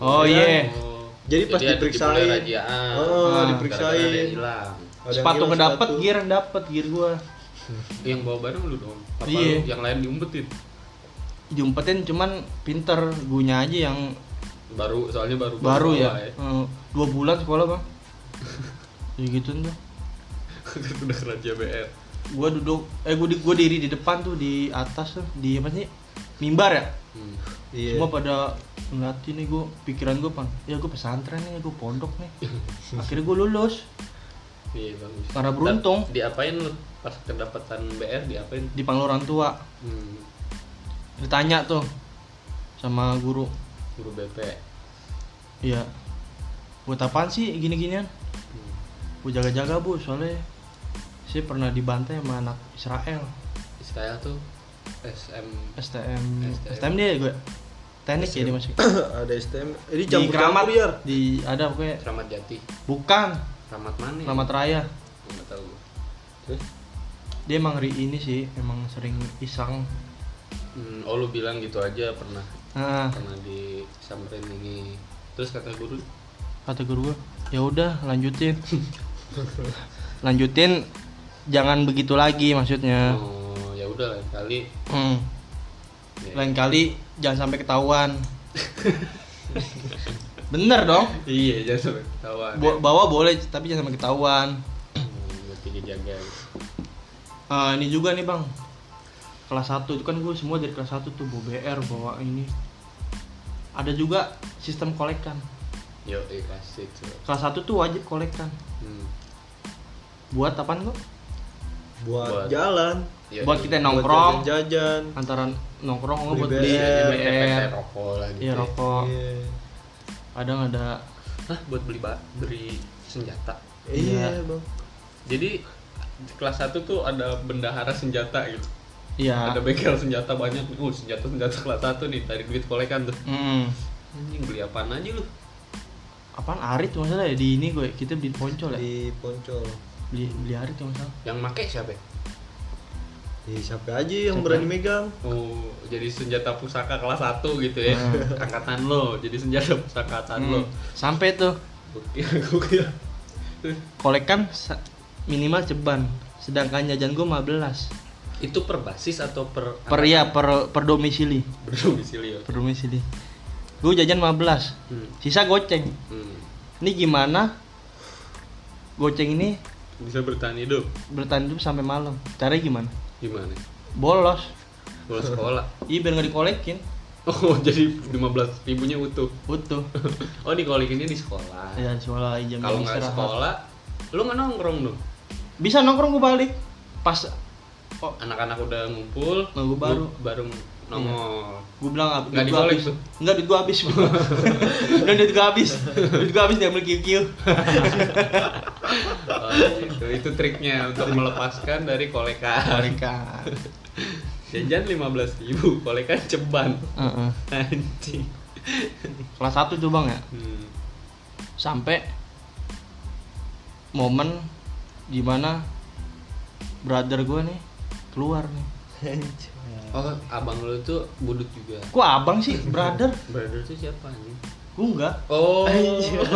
S2: oh iya
S1: Oh.
S3: Jadi pas
S1: ada-
S3: diperiksain.
S1: dimulai rajiaan.
S3: Oh,
S2: Ah.
S3: diperiksain.
S1: Gara-gara ada yang hilang.
S3: Ada yang
S2: sepatu
S3: hilang
S2: ngedapet,
S3: sepatu.
S2: gear dapet, gear gue
S1: yang bawa barang lu dong apa
S2: Iya.
S1: lu yang lain diumpetin
S2: diumpetin cuman pinter gunya aja yang
S1: baru soalnya baru
S2: baru ya,
S1: bawa
S2: Eh, dua bulan sekolah bang ya gitu tuh
S1: udah kerajia BR
S2: gue duduk eh gue gue diri di depan tuh di atas tuh di apa sih mimbar ya
S1: hmm.
S3: Iya.
S2: semua pada ngeliatin nih gue pikiran gue pan ya gue pesantren nih gue pondok nih akhirnya gue lulus
S1: iya bagus
S2: Karena beruntung.
S1: Dan diapain lu pas kedapatan BR diapain
S2: dipanggil orang tua
S1: hmm.
S2: ditanya tuh sama guru
S1: guru BP
S2: iya buat apaan sih gini-ginian
S1: hmm.
S2: gue jaga-jaga bu soalnya saya pernah dibantai sama anak Israel
S1: Israel tuh SM
S2: STM
S1: STM.
S2: STM dia ya gue teknik ya dia masuk
S3: ada STM. Eh, Ini
S2: di
S3: campur
S2: keramat
S3: campur Yar.
S2: di ada pokoknya
S1: Kramat Jati
S2: bukan
S1: Kramat mana
S2: Kramat Raya
S1: nggak tahu gua.
S2: dia emang ri ini sih emang sering iseng
S1: hmm. oh lu bilang gitu aja pernah
S2: nah
S1: pernah di samperin ini terus kata guru
S2: kata guru gue ya udah lanjutin lanjutin jangan begitu lagi maksudnya
S1: oh ya udah lain kali
S2: Hmm.
S1: Ya.
S2: lain kali jangan sampai ketahuan bener dong
S1: iya jangan sampai ketahuan
S2: Bo- bawa boleh tapi jangan sampai ketahuan
S1: Hmm, berarti dijaga gitu.
S2: Ah, ini juga nih bang kelas 1 itu kan gue semua dari kelas 1 tuh bawa BR bawa ini ada juga sistem kolekan
S1: Yo, iya kasih tuh.
S2: kelas 1 tuh wajib kolekan
S1: Hmm.
S2: buat apaan kok
S3: Buat,
S1: Buat-
S3: jalan,
S1: Yo,
S2: buat
S1: iya.
S2: kita
S3: buat
S2: nongkrong
S3: jajan.
S2: antara nongkrong nggak
S3: Beli
S2: buat
S3: BR,
S2: beli
S1: Iya,
S3: Eh,
S1: beli
S2: BR
S1: pepes, rokok lah gitu.
S2: iya
S1: ya.
S2: rokok
S3: Iya.
S2: kadang ada
S1: Hah, buat beli ba- beli senjata.
S3: Iya,
S2: Iya.
S3: Bang.
S1: Jadi di kelas 1 tuh ada bendahara senjata gitu.
S2: iya
S1: Ada bengkel senjata banyak. nih. Uh, senjata-senjata kelas 1 nih dari duit kolekan tuh.
S2: Mm.
S1: Anjing beli apaan aja lu?
S2: apaan arit tuh masalah ya di ini gue kita beli poncol ya
S3: Di poncol.
S2: beli beli arit tuh masalah
S1: Yang make siapa? ya?
S3: Di Iya, siapa aja yang
S2: Siapa?
S3: berani megang?
S1: Oh, jadi senjata pusaka kelas 1 gitu ya. Angkatan lo, jadi senjata pusaka angkatan lo.
S2: Hmm. sampai tuh
S1: Gokil, gokil.
S2: kolekan sa- minimal ceban sedangkan jajan gue 15
S1: Itu per basis atau per
S2: per ya per per domisili
S1: berdomisili ya?
S2: per domisili gue jajan 15
S1: Hmm.
S2: sisa goceng
S1: Hmm.
S2: ini gimana goceng ini
S1: bisa bertahan hidup
S2: bertahan hidup sampai malam caranya gimana
S1: gimana
S2: bolos
S1: bolos sekolah
S2: iya biar nggak dikolekin
S1: oh jadi 15 ribunya utuh
S2: utuh
S1: oh di ini di sekolah
S2: ya sekolah lagi jam
S1: kalau nggak
S2: istirahat.
S1: sekolah lu nggak nongkrong dong
S2: bisa nongkrong gue balik pas oh,
S1: anak-anak udah ngumpul
S2: Nah, gua
S1: lu
S2: baru.
S1: baru nongol
S2: gue bilang
S1: Nggak
S2: duit gua
S1: dikolek
S2: habis.
S1: tuh.
S2: nggak duit gue habis udah duit gue habis duit gue habis diambil kiu kiu
S1: Oh, itu, itu triknya untuk melepaskan dari kolekan
S2: mereka
S1: jajan 15 ribu kolekan ceban
S2: Heeh.
S1: anjing
S2: kelas satu tuh bang ya
S1: hmm.
S2: sampai momen dimana brother gue nih keluar nih
S1: oh abang lu tuh budut juga
S2: gue abang sih brother
S1: brother tuh siapa anjing
S2: gue enggak
S1: oh Iya,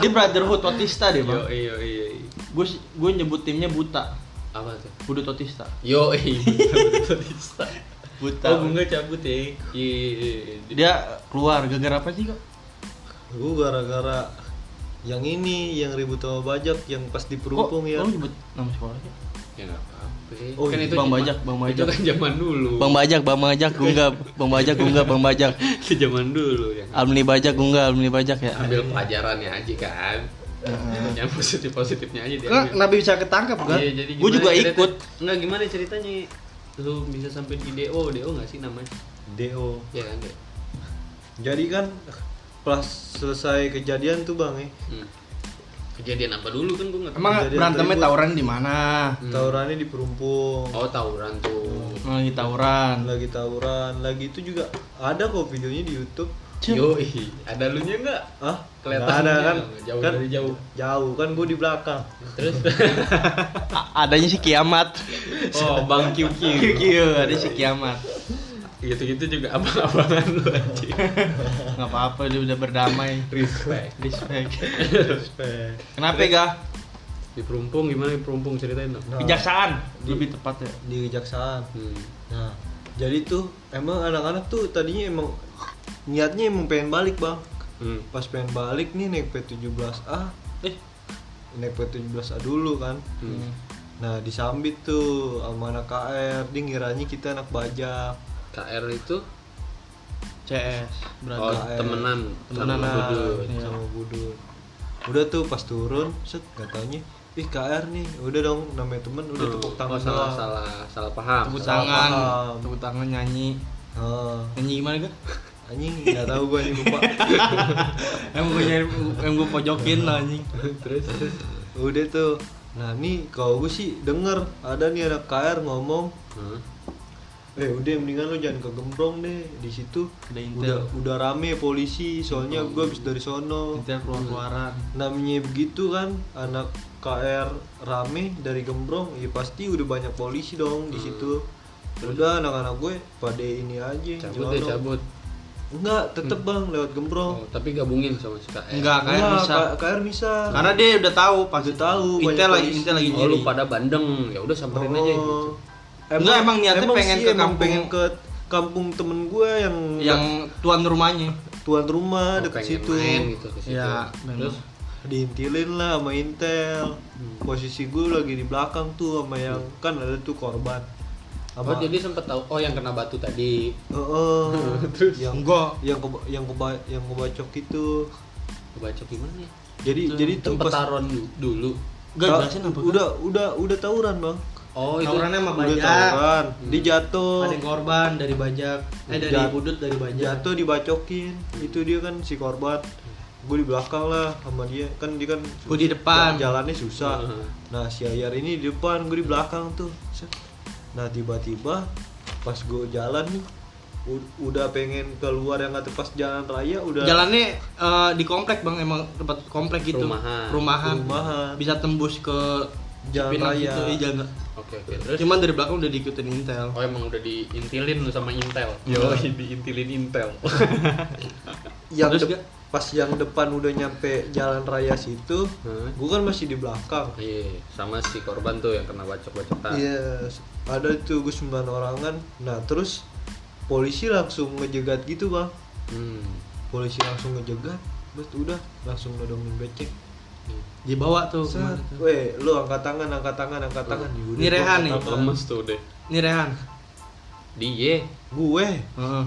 S2: dia brotherhood otista deh
S1: yo
S2: bang
S1: yo yo
S2: gue gue nyebut timnya buta
S1: apa tuh
S2: budut otista
S1: yo iya. budutista
S2: buta
S1: oh bunga cabut ya Iya.
S2: dia keluar gara-gara apa sih kok
S3: Gue gara-gara yang ini, yang ribut sama bajak, yang pas diperupung
S2: Kok
S3: ya.
S2: lu nyebut nama sekolahnya
S1: ya nggak apa-apa
S3: Oh,
S1: kan
S3: iya.
S1: itu
S2: Bang
S1: zaman-
S2: Bajak, Bang
S1: itu
S2: Bajak.
S1: kan zaman dulu
S2: Bang Bajak, Bang Bajak, gue enggak Bang Bajak, gue enggak Bang Bajak
S1: itu zaman dulu ya
S2: Alumni Bajak, gue enggak Alumni Bajak ya
S1: ambil pelajarannya aja kan yang positif positifnya aja dia
S2: Kenapa
S1: ambil.
S2: kenapa bisa ketangkep kan?
S1: Iya, jadi
S2: Gue
S1: gimana
S2: juga
S1: cerita-
S2: ikut
S1: nggak gimana ceritanya lu bisa sampai di DO DO nggak sih namanya
S3: DO.
S1: ya kan Dek?
S3: Jadi kan pas selesai kejadian tuh bang eh,
S1: Hmm. kejadian apa dulu kan gue nggak tahu.
S2: Emang
S3: Kejadian
S2: berantemnya
S3: ribut.
S2: tawuran di mana?
S1: Hmm.
S3: tawurannya di perumpung,
S1: oh tawuran tuh
S2: Emang Lagi tawuran.
S3: lagi tawuran, lagi itu juga ada kok videonya di YouTube.
S2: Cep.
S1: yoi ada lu nya nggak
S3: Ah,
S1: Kelihatan
S3: nggak ada
S1: juga,
S3: kan?
S1: jauh
S3: kan,
S1: dari jauh.
S3: Jauh kan gue di belakang.
S1: terus
S2: A- adanya si kiamat.
S1: oh bang Q Q
S2: Kiu, ada si kiamat.
S1: gitu gitu juga abang-abangan lu aja
S2: Enggak apa-apa, dia udah berdamai.
S1: respect
S2: Respect.
S3: Eh,
S2: Kenapa ya, gak?
S1: di perumpung gimana di perumpung ceritain dong
S3: nah,
S2: Kejaksaan lebih tepat ya.
S3: di kejaksaan.
S1: hmm.
S3: Nah, jadi tuh emang anak-anak tuh tadinya emang niatnya emang pengen balik bang.
S1: Hmm.
S3: Pas pengen balik nih naik P17A,
S2: Eh,
S3: naik P17A dulu kan.
S1: Hmm.
S3: Nah disambit tuh sama anak KR, dia ngiranya kita anak bajak.
S1: KR itu
S2: CS
S1: oh,
S2: berarti.
S1: temenan
S2: Temenan
S1: sama
S2: lah.
S1: Budut.
S2: Iya.
S3: sama Budut. Udah tuh pas turun, set gak taunya, ih KR nih, udah dong namanya temen, udah
S1: Hmm.
S3: tepuk
S1: oh,
S3: tangan
S1: salah
S3: doang.
S1: salah salah paham
S2: Tepuk
S1: Salah
S2: tangan,
S3: paham.
S2: tepuk tangan nyanyi.
S3: Nah,
S2: Nyanyi gimana gak?
S3: anjing gak tahu gue anjing lupa.
S2: Em gue nyari, em gue pojokin lah anjing.
S1: paham. terus terus
S3: udah tuh, nah nih kalau gue sih denger ada nih anak KR ngomong,
S1: Hmm.
S3: eh udah mendingan lo jangan kegembrong deh di situ
S2: Ada
S3: udah
S2: intel,
S3: udah rame polisi soalnya gue habis dari sono
S2: intel keluar keluaran.
S3: namanya begitu kan anak KR rame dari Gembrong ya pasti udah banyak polisi dong di situ
S2: Hmm.
S3: Ya udah anak-anak gue pada ini aja
S1: cabut
S3: nyelono.
S1: ya cabut
S3: enggak tetep
S2: Hmm.
S3: bang lewat Gembrong
S1: oh, tapi gabungin sama si KR
S2: Enggak, kayak
S3: Enggak,
S2: Nah, bisa.
S3: K- KR bisa
S2: Karena dia udah tahu pasti
S3: Udah tahu,
S2: Intel
S3: banyak
S2: lagi
S3: polisi.
S2: Intel lagi
S1: oh lu
S2: nyiri.
S1: pada bandeng ya udah samperin aja gitu
S2: Enggak, emang niatnya pengen
S3: sih,
S2: ke
S3: Oh. emang
S2: kampung-
S3: pengen ke kampung temen gue yang
S2: yang tuan rumahnya.
S3: tuan
S1: Oh,
S3: rumah deket
S1: pengen
S3: situ
S1: main gitu ke situ
S2: Ya,
S1: terus
S3: diintilin lah sama Intel
S2: Hmm.
S3: posisi gue lagi di belakang tuh sama yang kan ada tuh korban
S1: oh jadi sempet tahu oh yang kena batu tadi
S3: Heeh.
S1: Terus?
S3: yang
S2: Enggak.
S3: yang keba- yang keba- yang kebacok itu.
S1: baca gimana ya
S3: Jadi jadi tuh
S1: tempat taruhan du- dulu
S2: Enggak
S3: Ta-
S2: jelasin apa
S3: udah udah udah tawuran, Bang.
S1: oh itu
S2: Tawurannya sama
S3: udah
S2: bajak.
S3: tawuran. Dia jatuh.
S2: Hmm. Ada korban dari bajak. Eh dari
S3: Jat-
S2: budut dari bajak.
S3: Jatuh dibacokin. Itu dia kan si korban. Gue di belakang lah sama dia. Kan dia kan
S2: Gua di depan.
S3: jal- jalannya susah.
S1: Heeh.
S3: Nah, si Ayar ini di depan, gue di belakang tuh. Set. Nah, tiba-tiba pas gue jalan nih u- udah pengen keluar yang nggak pas jalan raya udah
S2: Jalannya eh, di komplek Bang, emang tempat komplek gitu.
S1: Rumahan.
S2: Rumahan.
S3: Rumahan.
S2: Bisa tembus ke
S3: Jalan
S2: Cipinang
S3: raya.
S2: gitu, iya, jalan.
S1: oke oke terus
S2: Cuman dari belakang udah diikutin Intel.
S1: Oh emang udah diintilin lu sama Intel.
S3: Yo.
S1: diintilin Intel.
S3: yang
S2: Terus
S3: dep-
S2: gak?
S3: pas yang depan udah nyampe jalan raya situ,
S1: Hmm.
S3: gue kan masih di belakang.
S1: Iya, sama si korban tuh yang kena bacok-bacokan.
S3: Iya, ada tuh gue sembilan orangan. Nah terus polisi langsung ngejegat gitu bang.
S1: Hmm.
S3: Polisi langsung ngejegat, terus udah langsung nodongin becek.
S2: dibawa tuh kemana
S3: Set,
S2: tuh.
S3: weh, lu angkat tangan, angkat tangan, angkat tangan.
S2: Ini
S3: Yaudah, gua
S2: Rehan
S3: angkat
S2: nih.
S3: tangan.
S1: lemes tuh deh
S2: ini Rehan
S1: dia
S3: Gue.
S2: Heeh.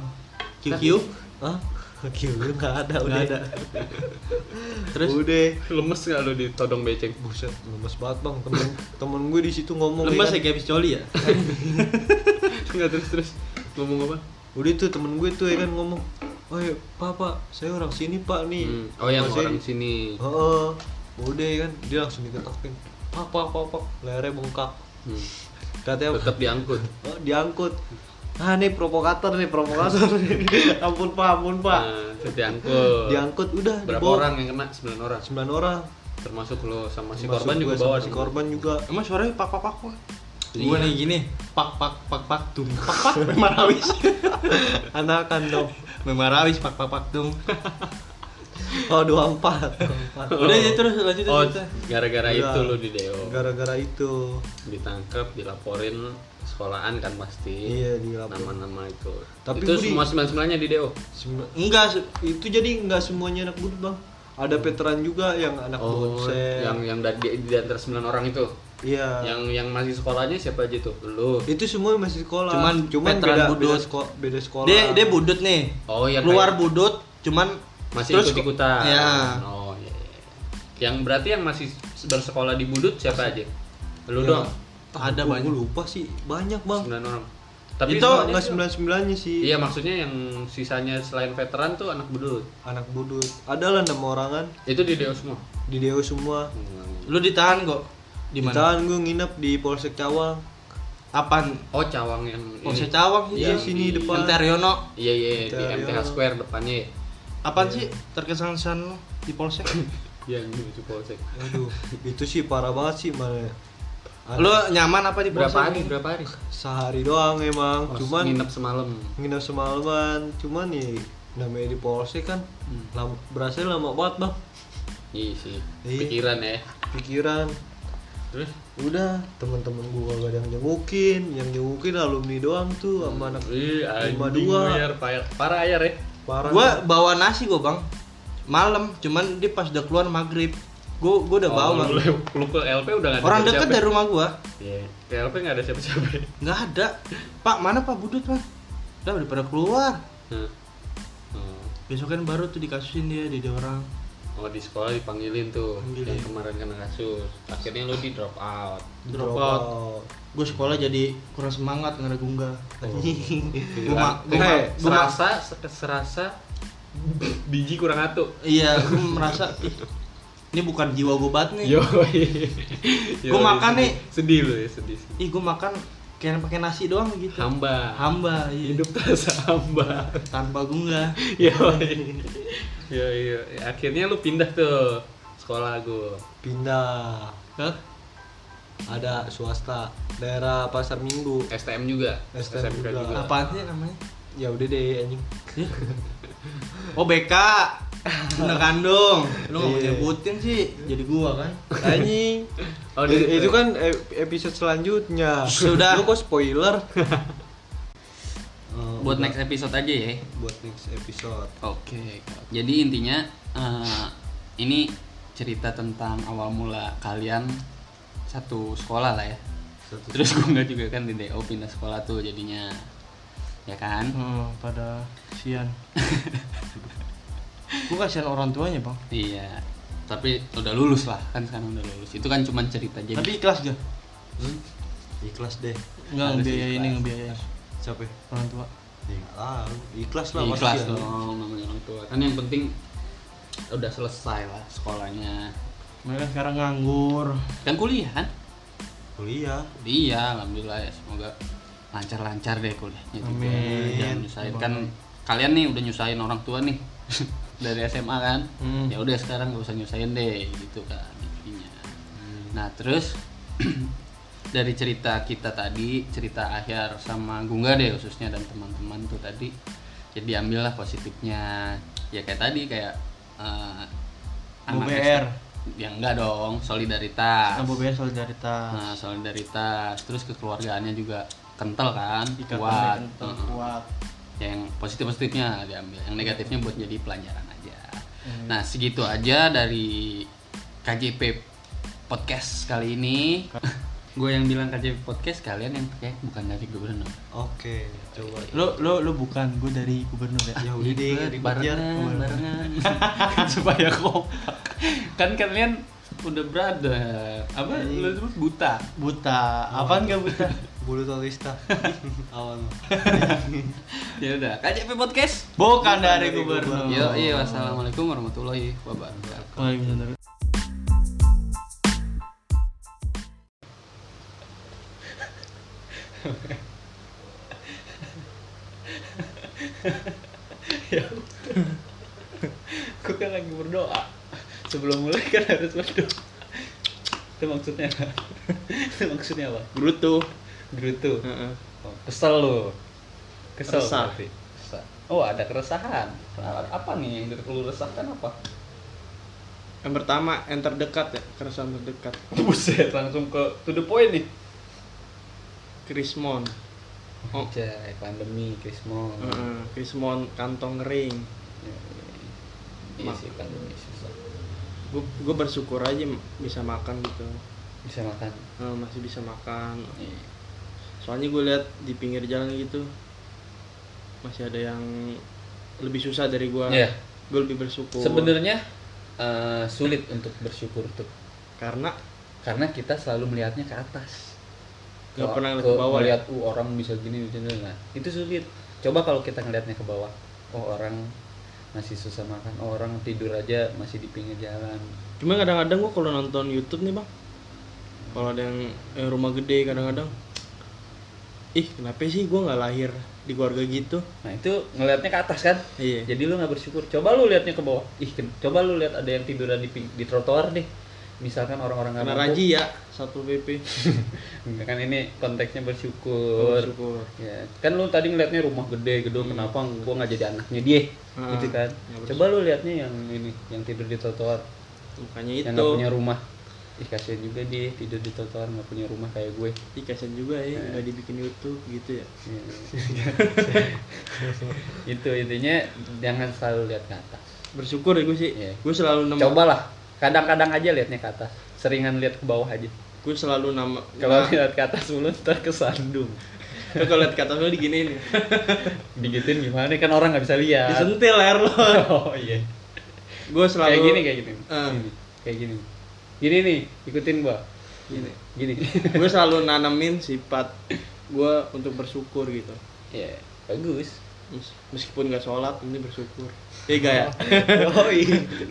S2: QQ
S3: Hah? Oke, lu nggak ada, udah
S2: nggak ada terus
S3: Udah.
S1: Eh, lemes nggak lu ditodong becek
S3: Buset, lemes banget bang. Temen, temen gue di situ ngomong.
S2: lemas ya
S3: ya kan.
S2: kayak Piscoli ya
S1: nggak terus terus ngomong apa
S3: Udah tuh temen gue tuh ya kan ngomong. Oh pak, pak, saya orang sini pak nih.
S1: Hmm. oh yang
S3: Masih-
S1: orang sini
S3: Heeh. Udah ya kan, dia langsung diketakin. Pak, pak, pak, pak. Lehernya bengkak.
S1: hmm.
S3: Katanya
S1: tetap diangkut
S3: Oh, diangkut. Ah nih provokator nih provokator. ampun pak, ampun pak.
S1: Nah, tetap diangkut
S3: Diangkut udah
S1: berapa
S3: dibawa.
S1: orang yang kena 9 orang
S3: 9 orang.
S1: termasuk lo sama si
S3: Termasuk
S1: korban
S3: gue
S1: juga
S3: sama
S1: bawa
S3: si
S1: sih.
S3: korban juga.
S2: emang suaranya pak pak pak pak
S1: Iya.
S2: gua nih gini pak pak pak pak tum pak pak memerawis
S3: Anakan dong.
S2: memerawis pak pak pak tum
S3: Oh 24. 24.
S2: udah ya terus lanjut
S1: oh
S3: Iya.
S2: lanjut.
S1: gara-gara
S3: Udah.
S1: itu lo di deo
S3: Gara-gara itu.
S1: ditangkap dilaporin sekolahan kan pasti
S3: Iya, dilapor.
S1: nama-nama itu
S3: Tapi
S1: itu
S3: gua di-
S1: semua sembilan sembilannya di deo
S3: Sembilan- Enggak, se- itu jadi enggak semuanya anak budut, Bang. Ada veteran juga yang anak
S1: oh
S3: bonsai.
S1: yang yang dari di, di antara sembilan orang itu
S3: Iya.
S1: yang yang masih sekolahnya siapa aja tuh lo
S3: itu semua masih sekolah.
S2: Cuman veteran
S3: beda,
S2: budut.
S3: beda, seko- beda sekolah.
S2: dia dia budut nih
S1: oh yang
S2: keluar
S1: kayak-
S2: budut cuman
S1: masih
S2: terus-
S1: ikut ikutan
S2: ya
S1: oh iya, iya. yang berarti yang masih bersekolah di budut siapa aja lo
S2: Ya.
S3: Iya.
S1: doang
S2: ada
S3: Gua-
S2: banyak
S3: gua lupa sih, banyak, Bang.
S1: sembilan orang
S2: Itu
S1: semuanya
S3: Enggak
S1: itu-
S3: 99-nya sih.
S1: Iya maksudnya yang sisanya selain veteran tuh anak bedut
S3: anak budut adalah enam orangan
S1: Itu di DO semua.
S3: di Deo semua
S2: lu ditahan kok di mana
S3: ditahan gue nginep di Polsek Cawang
S2: apaan
S1: Oh cawang yang
S2: Polsek
S1: ini.
S2: Cawang
S1: Iya,
S2: sih
S1: sini
S2: di
S3: depan.
S2: Antaryono
S1: Iya iya di
S3: Cawang.
S1: MTH Square depannya. ya.
S2: apaan sih terkesan-kesan lu di Polsek
S1: Iya ini lucu polsek.
S3: aduh itu sih parah banget sih mana Ada-
S2: lu nyaman apa di
S1: Berapa
S2: Polsek
S1: hari? Berapa hari?
S3: sehari doang emang
S1: Oh,
S3: cuman
S1: nginep
S3: nginep.
S1: semalam.
S3: semalaman cuman nih namanya di Polsek kan
S2: Hmm.
S3: lama, berasa lama banget bang
S1: Iya sih.
S3: Iya.
S1: Pikiran ya.
S3: pikiran
S1: Terus
S3: udah temen-temen gue gak ada yang jengukin yang jengukin alumni doang tuh sama anak
S1: Ih,
S3: Lima
S1: Iya, anjing
S3: dua.
S1: Ayar, payar. Parah ayar ya.
S3: parah
S2: gua bawa nasi gua bang malam cuman dia pas udah keluar maghrib gua gua udah bawa
S1: Oh, lu, lu ke LP udah nggak ada
S2: orang
S1: siapa-siapa.
S2: deket dari rumah gua
S1: Iya. Ke LP nggak ada siapa-siapa.
S2: nggak ada pak mana pak budut pak udah udah pada keluar
S1: Nah. Oh.
S2: besoknya baru tuh dikasihin dia di orang
S1: Oh di sekolah dipanggilin tuh
S2: Panggilin.
S1: yang kemarin kena kasus. Akhirnya lu di drop out.
S2: drop out. gue sekolah jadi kurang semangat karena gungga Gua ma- gua ma-
S1: Hei,
S2: gua
S1: Oh. Eh,
S2: ma-
S1: serasa se- serasa biji kurang atu.
S2: iya gue merasa "Ih, ini bukan jiwa gue banget nih
S1: Yo.
S2: Gua makan nih.
S1: Sedih lu ya, sedih. sedih.
S2: ih gue makan kayak pakai nasi doang gitu
S1: Hamba.
S2: hamba iya.
S1: Hidup terasa hamba.
S2: tanpa gungga
S1: Yo. Yo, yo. Akhirnya lu pindah tuh sekolah gua.
S3: pindah
S2: Hah?
S3: ada swasta daerah pasar minggu
S1: STM juga.
S3: STM juga.
S2: apaan sih namanya
S3: ya udah deh anjing
S2: oh BK Bunda kandung kan, lu nggak mau
S3: Iya.
S2: nyebutin sih jadi gua kan
S3: anjing
S1: Oh,
S3: Eh,
S1: di-
S3: itu kan ep- episode selanjutnya
S2: Sudah.
S3: lu kok spoiler Eh,
S4: buat
S3: udah.
S4: next episode aja ya.
S3: buat next episode
S4: Oke. Jadi intinya eh, ini cerita tentang awal mula kalian satu sekolah lah ya.
S3: Satu-
S4: Terus gue nggak juga kan di DO pindah sekolah tuh jadinya ya kan.
S2: hmm, pada sian gue kasihan orang tuanya bang
S4: Iya. Tapi udah lulus lah kan sekarang udah lulus. Itu kan cuma cerita jadi.
S2: tapi ikhlas gak
S3: ikhlas deh
S2: nggak
S4: Harus
S2: ngebiayain ini
S4: ikhlas.
S2: ngebiayain
S3: siapa ya
S2: orang tua
S3: Nggak tahu. ikhlas lah pasti
S4: ikhlas
S3: ya.
S4: dong namanya orang tua. Kan yang penting udah selesai lah sekolahnya.
S2: mereka sekarang nganggur
S4: Kan kuliah kan?
S3: kuliah
S4: Iya, alhamdulillah ya. Semoga lancar-lancar deh kuliahnya juga.
S2: Amin.
S4: Jangan nyusahin kan kalian nih udah nyusahin orang tua nih dari SMA kan.
S2: Hmm.
S4: Ya udah sekarang gak usah nyusahin deh gitu kan intinya.
S2: Hmm.
S4: Nah, terus dari cerita kita tadi, cerita akhir sama Gungga deh khususnya dan teman-teman tuh tadi. Jadi ambillah positifnya. Ya kayak tadi kayak eh, anak
S2: UBR.
S4: SD. Ya enggak dong, solidaritas.
S2: Abu Bea solidaritas
S4: Nah, solidaritas, terus kekeluargaannya juga kental kan,
S2: Ikatan
S4: kuat.
S2: yang Iya, kental,
S4: Heeh.
S2: kuat
S4: Yang positif-positifnya diambil, yang negatifnya buat jadi pelajaran aja. Nah, segitu aja dari
S1: KJP podcast kali ini. gue yang bilang KJP podcast kalian yang pakai bukan dari gubernur.
S3: Oke, coba.
S2: Lo lo lo bukan, gue dari gubernur ya.
S3: Ya udah deh,
S1: Ikut,
S3: dikejar.
S1: barengan, barengan. Supaya kompak. Kan kalian udah brother. Apa
S3: Anjing.
S1: lu sebut buta?
S2: Buta, apaan gak buta?
S3: Bulu tolista. Awan.
S1: Ya udah, KJP podcast.
S2: Bukan
S3: dari
S2: dari gubernur.
S1: Yo, iya, wassalamualaikum warahmatullahi wabarakatuh.
S2: Waalaikumsalam.
S1: gue kan lagi berdoa sebelum mulai kan harus berdoa itu maksudnya apa? itu maksudnya apa
S2: Bruto.
S1: gerutu
S2: Heeh.
S1: Oh, kesel lo kesel
S2: Resah.
S1: berarti. Resah. oh ada keresahan Kenapa- apa nih yang lu resahkan apa
S2: Yang pertama, yang terdekat ya, keresahan terdekat.
S1: buset langsung ke to the point nih
S2: Krismon. Oh.
S1: Anjay, pandemi krismo
S2: Heeh, Krismon kantong kering.
S1: iya sih pandemi susah
S2: Gue gue bersyukur aja m- bisa makan gitu.
S1: bisa makan
S2: Eh, masih bisa makan.
S1: Iya.
S2: Soalnya gue lihat di pinggir jalan gitu masih ada yang lebih susah dari gue.
S1: Iya.
S2: Gue lebih bersyukur.
S1: sebenarnya eh, sulit untuk bersyukur tuh
S2: karena
S1: karena kita selalu melihatnya ke atas
S2: Nggak
S1: Ke-
S2: pernah ngeliat ke bawah ya?
S1: melihat "Uh, orang bisa gini bisa gini." nah itu sulit coba kalau kita ngelihatnya ke bawah oh orang masih susah makan oh, orang tidur aja masih di pinggir jalan
S2: Cuma kadang-kadang gua kalau nonton YouTube nih bang, kalau ada yang eh, rumah gede kadang-kadang, ih kenapa sih gua nggak lahir di keluarga gitu?
S1: nah itu ngelihatnya ke atas kan
S2: Iya.
S1: jadi lu nggak bersyukur coba lu lihatnya ke bawah ih ken- coba lu lihat ada yang tiduran di, ping- di trotoar deh misalkan orang-orang nggak
S2: Karena
S1: mampu
S2: raji ya satu PP.
S1: Enggak, kan ini konteksnya bersyukur
S2: Bersyukur.
S1: Ya, kan lu tadi ngeliatnya rumah gede
S2: Hmm.
S1: gedung kenapa gua nggak jadi anaknya dia
S2: Ah,
S1: gitu kan
S2: nggak
S1: coba lu liatnya yang ini yang tidur di trotoar
S2: Makanya
S1: yang
S2: itu.
S1: nggak punya rumah ih kasihan juga dia tidur di trotoar nggak punya rumah Iya. kayak gue
S2: Ih, kasihan juga ya nggak dibikin YouTube gitu ya.
S1: Ya. itu Gitu, intinya jangan selalu lihat ke atas
S2: Bersyukur ya gue sih.
S1: Iya.
S2: Gue selalu nemu.
S1: cobalah kadang-kadang aja liatnya ke atas seringan lihat ke bawah aja
S2: Gue selalu nama.
S1: kalau
S2: Nah,
S1: lihat ke atas mulu ntar kesandung
S2: lu kalau lihat kata lu diginiin, ya.
S1: digituin gimana kan orang nggak bisa lihat
S2: disentil air lo.
S1: oh iya
S2: Gue selalu.
S1: kayak gini kayak gini
S2: Ah.
S1: Gini, kayak gini gini nih ikutin gua
S2: Gini.
S1: gini
S2: Gue selalu nanamin sifat gue untuk bersyukur gitu.
S1: ya bagus
S2: Mes- meskipun nggak sholat ini bersyukur iya gak ya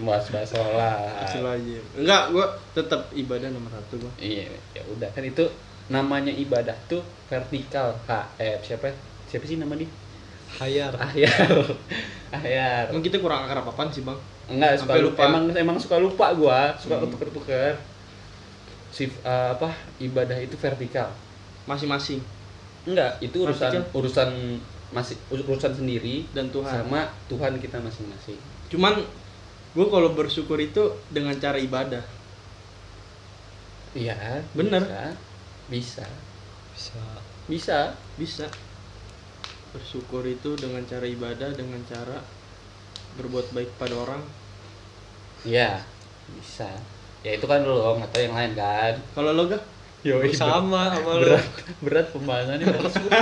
S1: mas bahas
S2: kecil
S1: sholat
S2: aja enggak gue tetap ibadah nomor satu gue
S1: iya ya udah kan itu namanya ibadah tuh vertikal H eh siapa siapa sih nama dia
S3: Hayar.
S1: Ahyar Ahyar
S2: emang kita kurang akar apaan sih bang
S1: enggak suka
S2: Sampai
S1: lupa Hmm.
S2: lupa.
S1: emang emang suka lupa gua suka tuker-tuker Sif, eh, apa ibadah itu vertikal
S2: masing-masing
S1: enggak itu urusan
S2: Vertikal?
S1: urusan masih urusan sendiri
S2: dan Tuhan
S1: sama Tuhan kita masing-masing
S2: cuman gue kalau bersyukur itu dengan cara ibadah
S1: Iya,
S2: Bener.
S1: Bisa.
S3: Bisa.
S1: Bisa.
S2: bisa bersyukur itu dengan cara ibadah dengan cara berbuat baik pada orang
S1: Iya, bisa. Ya itu kan lu nggak tahu yang lain kan.
S2: kalau lo gak
S1: Yo,
S3: Sama sama lu.
S1: berat berat pembahasannya berat.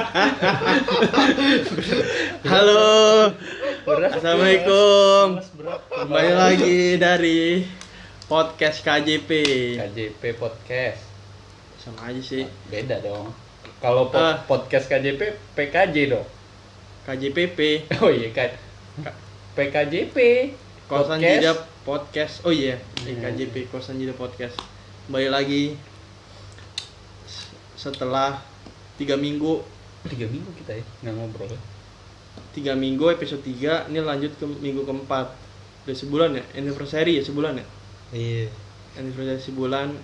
S2: halo
S1: berat.
S2: assalamualaikum
S1: berat.
S2: kembali lagi dari podcast KJP
S1: KJP podcast.
S2: sama aja sih
S1: Beda dong. Kalau po-
S2: Iya. Ah.
S1: podcast KJP PKJ dong.
S2: KJPP
S1: Oh iya kan. PKJP. Podcast.
S2: Kosan Jeda Podcast. Oh iya,
S1: Iya.
S2: EKJP Kosan Jeda Podcast. Kembali lagi s- setelah tiga minggu,
S1: Tiga minggu kita ya nggak ngobrol.
S2: tiga minggu episode 3 ini lanjut ke minggu keempat. Udah sebulan ya, anniversary ya sebulan ya,
S3: Iya.
S2: anniversary sebulan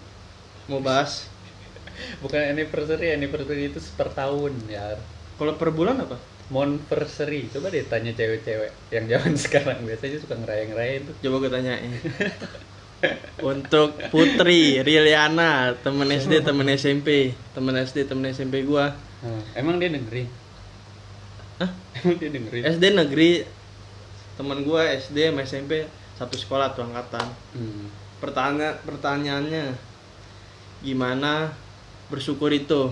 S2: mau bahas.
S1: Bukan anniversary, anniversary itu per tahun ya.
S2: Kalau per bulan apa?
S1: Monversary, coba deh tanya cewek-cewek yang zaman sekarang biasanya suka ngerayain-ngerayain tuh.
S2: Coba gue tanyain. Untuk Putri, Riliana, temen SD, temen SMP, temen SD, temen SMP gua.
S1: Emang dia dengerin?
S2: Hmm. Hah? Eh.
S1: Emang dia dengerin?
S2: SD negeri teman gue SD sama SMP satu sekolah tuh angkatan
S1: Hmm.
S2: pertanya pertanyaannya gimana bersyukur itu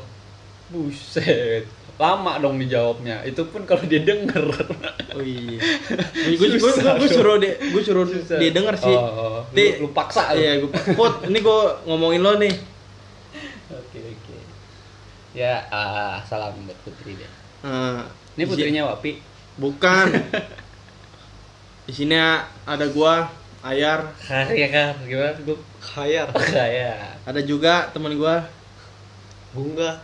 S1: Buset. Lama dong dijawabnya. Itu pun kalau dia denger.
S2: oh iya gue gue gue suruh dia gue suruh
S1: Susah.
S2: dia denger sih
S1: Oh, oh. Lu-
S2: Dia-
S1: lu paksa lu.
S2: iya gue pot ini gue ngomongin lo nih
S1: Oke, oke. Ya, ah, salam buat Putri deh.
S2: Eh,
S1: Ini putrinya Wapi.
S2: bukan di sini ada gua Ayar
S1: Hari ya kan, gimana gue
S3: Khayar,
S1: kayak
S2: ada juga teman gua
S3: Bunga,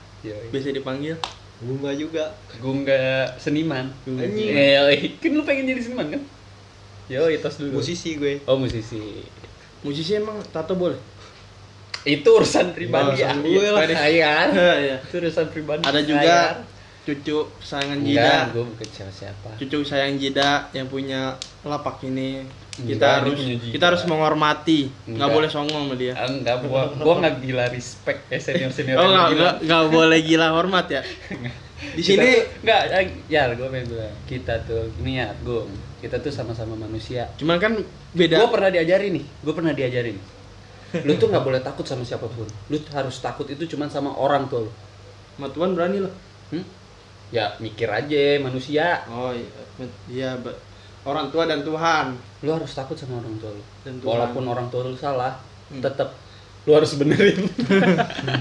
S2: biasa dipanggil
S3: Bunga juga.
S1: gue nggak seniman.
S3: Anjing.
S2: Iya.
S1: Yoi. Kan lu pengen jadi seniman kan? Yo, itu dulu.
S3: Musisi gue.
S1: Oh, musisi.
S2: musisi emang tato boleh
S1: Itu urusan pribadi
S3: Ya,
S1: ya.
S3: urusan gue lah.
S1: Ayar.
S2: Iya.
S1: Itu urusan pribadi.
S2: ada
S1: Ayar.
S2: juga cucu kesayangan Jida
S1: Enggak, gue bukan siapa-siapa.
S2: cucu sayang Jida yang punya lapak ini kita
S1: Enggak, dia
S2: harus
S1: punya Jida.
S2: kita harus menghormati nggak
S1: Enggak.
S2: boleh songong sama dia
S1: Enggak, gua gua nggak gila respect ya senior senior.
S2: oh nggak nggak- nggak boleh gila hormat ya di sini
S1: enggak ya gua pengen bilang kita tuh niat gua kita tuh sama-sama manusia.
S2: cuman kan beda
S1: Gua pernah diajarin nih, gua pernah diajarin. Lu tuh nggak boleh takut sama siapapun. Lu harus takut itu cuman sama orang tuh. lu.
S2: sama Tuhan berani loh
S1: Hmm? Ya mikir aja manusia.
S2: oh iya Bet- iya bet. orang tua dan Tuhan
S1: Lu harus takut sama orang tua lu.
S2: Dan Tuhan.
S1: Walaupun orang tua lu salah,
S2: Hmm.
S1: tetap lu harus benerin.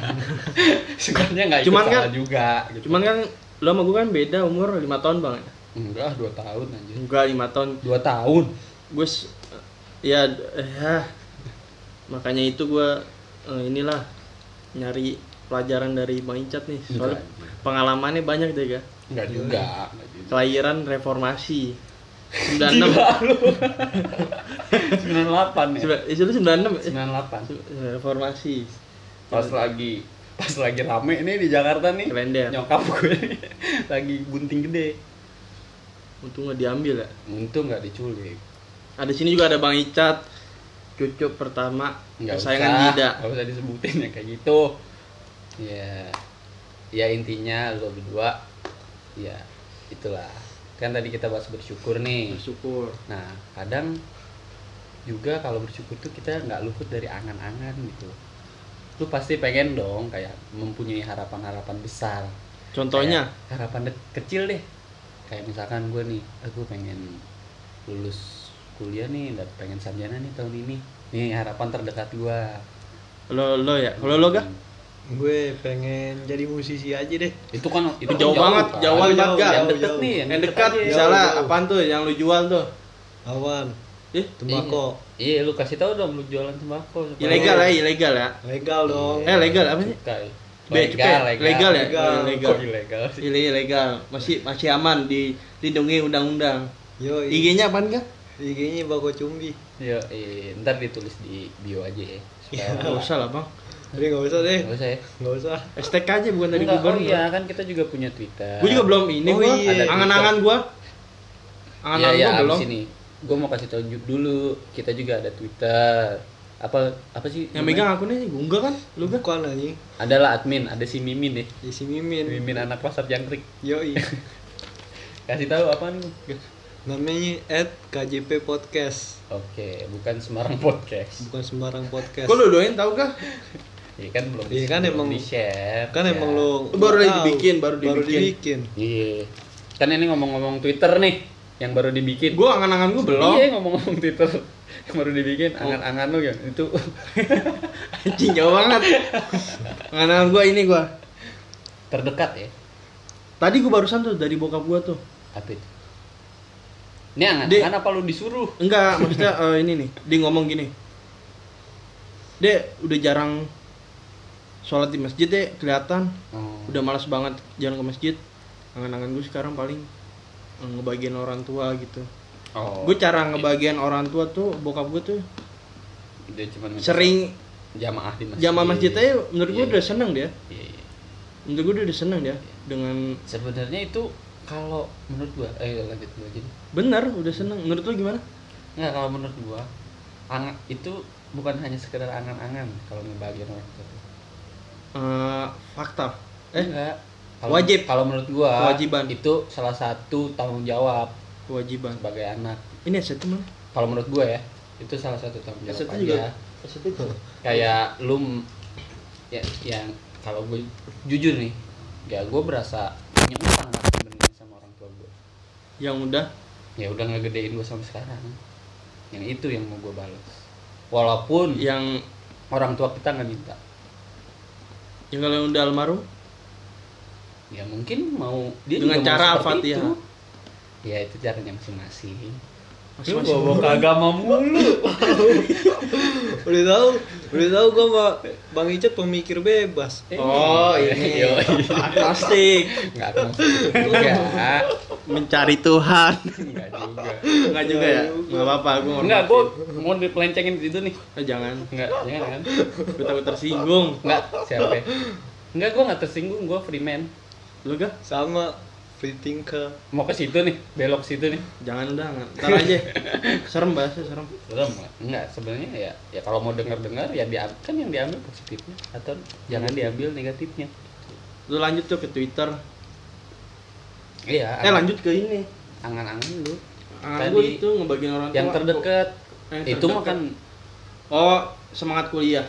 S1: Sebenarnya nggak itu
S2: Cuman
S1: salah
S2: kan-
S1: juga. gitu.
S2: cuman kan lo sama gue kan beda umur 5 tahun bang ya?
S1: Enggak, dua tahun anjir.
S2: enggak 5 tahun
S1: Dua tahun.
S2: gue s- ya eh, hah. makanya itu gue eh, inilah nyari pelajaran dari Bang Icat nih soalnya
S1: Enggak.
S2: pengalamannya banyak deh gak
S1: Enggak juga. Enggak juga.
S2: kelahiran reformasi 96
S1: Gila lu. 98 ya.
S2: Sembilan- eh, itu 96 eh,
S1: 98.
S2: se- reformasi
S1: Pas lagi pas lagi rame nih di Jakarta nih.
S2: Klender.
S1: Nyokap gue nih, lagi bunting gede.
S2: untungnya diambil ya
S1: Untung enggak diculik.
S2: ada di sini juga ada Bang Icat cucu pertama
S1: Enggak
S2: kesayangan
S1: usah.
S2: Dida
S1: Enggak usah disebutin ya kayak gitu. Ya ya intinya lu berdua ya itulah. Kan tadi kita bahas bersyukur nih.
S2: bersyukur
S1: Nah, kadang juga kalau bersyukur tuh kita nggak luput dari angan-angan gitu. Lu pasti pengen dong kayak mempunyai harapan-harapan besar.
S2: contohnya
S1: Kayak harapan de- kecil deh. Kayak misalkan gue nih, aku pengen lulus kuliah nih, dan pengen sarjana nih tahun ini. Nih harapan terdekat gue.
S2: lo lo ya kalau lo gak
S3: Gue pengen jadi musisi aja deh.
S1: Itu kan itu
S2: Itu
S1: kan
S2: jauh banget, jauh
S1: kan?
S2: banget
S3: Jauh,
S2: Gak.
S1: Yang
S3: jauh,
S1: deket
S3: jauh.
S1: nih, yang,
S2: yang
S1: deket,
S2: dekat
S1: aja.
S2: misalnya
S3: jauh.
S2: apaan tuh yang lo jual tuh
S3: Awan,
S2: Ih,
S3: tembakau.
S1: Iya, lu kasih tahu dong lu jualan sembako. supaya-
S2: ilegal ya ilegal ya
S3: Legal dong.
S1: Iya.
S2: eh legal apa sih
S1: Cukai.
S2: Bea cukai. Legal ya?
S3: Legal.
S2: Legal.
S1: Kok ilegal sih?
S2: Ini ilegal, masih masih aman dilindungi undang-undang.
S3: Yo,
S2: IG-nya apaan kah?
S3: IG-nya Bako Cumbi.
S1: Yo, eh, ntar ditulis di bio aja ya. Supaya
S3: Iya.
S2: Enggak usah lah, Bang.
S3: Jadi nggak usah deh.
S1: Nggak usah ya.
S3: Nggak usah.
S2: STK aja bukan dari
S1: Enggak, oh
S2: gubernur.
S1: iya kan kita juga punya Twitter.
S2: Gue juga belum ini
S3: Oh
S2: gua.
S3: iya.
S2: Ada Angan-angan gua.
S1: Iya,
S2: Angan-angan
S1: iya,
S2: gua belum.
S1: abis ini. Gue mau kasih tau ju- dulu, kita juga ada Twitter. Apa apa sih?
S2: Yang megang
S1: namanya?
S2: akunnya si Gungga kan? Lu kan?
S3: Bukan anjing.
S1: Adalah admin, ada si Mimin deh.
S3: Ya, si Mimin.
S1: Mimin anak pasar jangkrik.
S3: Yoi.
S1: Kasih tahu apaan lu?
S3: Namanya at KJP Podcast.
S1: Oke, bukan Semarang Podcast.
S3: Bukan sembarang podcast.
S2: Kok lu doain tau kah?
S1: Iya kan belum
S3: Iya kan emang-
S1: di share.
S3: kan emang lo
S2: Baru
S3: lo
S2: lagi
S3: tahu.
S2: dibikin, baru dibikin.
S1: Iya. Kan ini ngomong-ngomong Twitter nih yang baru dibikin.
S2: Gua angan-angan gua belum.
S1: Iya ngomong-ngomong Twitter yang baru dibikin angan-angan lu ya itu
S2: Anjing jauh banget. Angan-angan gua ini gua.
S1: terdekat ya.
S2: Tadi gua barusan tuh dari bokap gua tuh.
S1: Apa itu? Ini angan-angan
S2: Dek.
S1: apa lu disuruh?
S2: Enggak, maksudnya eh, ini nih, dia ngomong gini. Dek, udah jarang sholat di masjid dek, kelihatan. Udah malas banget jalan ke masjid. Angan-angan gue sekarang paling eh, ngebagian orang tua gitu.
S1: Oh.
S2: Gue cara ngebagian orang tua tuh, bokap gue tuh
S1: Dia cuma minta
S2: sering
S1: jamaah di masjid.
S2: jamaah masjid aja menurut gue
S1: Iya.
S2: udah seneng dia.
S1: Iya, iya.
S2: Menurut gue udah seneng dia dengan
S1: Sebenarnya itu kalau menurut gua eh lanjut dulu aja deh.
S2: bener udah seneng. Menurut lo gimana?
S1: Nggak, kalau menurut gua angan itu bukan hanya sekedar angan-angan kalau ngebagian orang tua.
S2: Eh, fakta.
S1: Eh,
S2: Eh,
S1: enggak.
S2: Wajib.
S1: Kalau menurut gua
S2: Kewajiban.
S1: itu salah satu tanggung jawab
S2: kewajiban.
S1: sebagai anak.
S2: Ini asetnya mana?
S1: Kalau menurut gua ya, itu salah satu tanggung jawab
S2: Asetnya
S1: aja.
S2: juga
S5: positif
S1: kayak lu m- ya, yang kalau gue jujur nih ya gue berasa punya utang lah sebenarnya sama orang tua gue
S2: yang udah
S1: ya udah ngegedein gue sampai sekarang yang itu yang mau gue balas walaupun
S2: yang
S1: orang tua kita nggak minta
S2: yang kalau yang udah almarhum
S1: ya mungkin mau dia juga
S2: Dengan
S1: mau
S2: cara
S1: seperti
S2: Al-Fatihah.
S1: itu. ya itu caranya masing-masing
S2: masih
S1: Lu bawa Oh, ke agama mulu
S3: udah tahu udah tahu gua sama bang Icat pemikir bebas
S2: oh
S1: Iya,
S2: ini agnostik
S1: Eh. nggak nggak
S2: mencari Tuhan
S1: nggak juga
S2: nggak juga ya nggak apa-apa gue
S1: nggak gue mau dipelencengin itu nih
S2: jangan
S1: nggak jangan kan
S2: gue takut tersinggung
S1: nggak siapa ya? nggak gue nggak tersinggung gue free man
S2: lu gak
S3: sama free thinker
S1: mau ke situ nih belok situ nih
S2: jangan udah nggak. ntar aja serem bahasa serem
S1: belum nggak sebenarnya ya ya kalau mau dengar dengar ya diambil kan yang diambil positifnya atau jangan diambil negatifnya
S2: lu lanjut tuh ke Twitter
S1: iya
S2: eh lanjut ke ini
S1: angan-angan lu
S2: Ah,
S1: Tadi-
S2: gue itu ngebagiin orang
S1: yang
S2: tua.
S1: terdekat
S2: Yang
S1: itu mah
S2: terdekat.
S1: kan
S2: oh semangat kuliah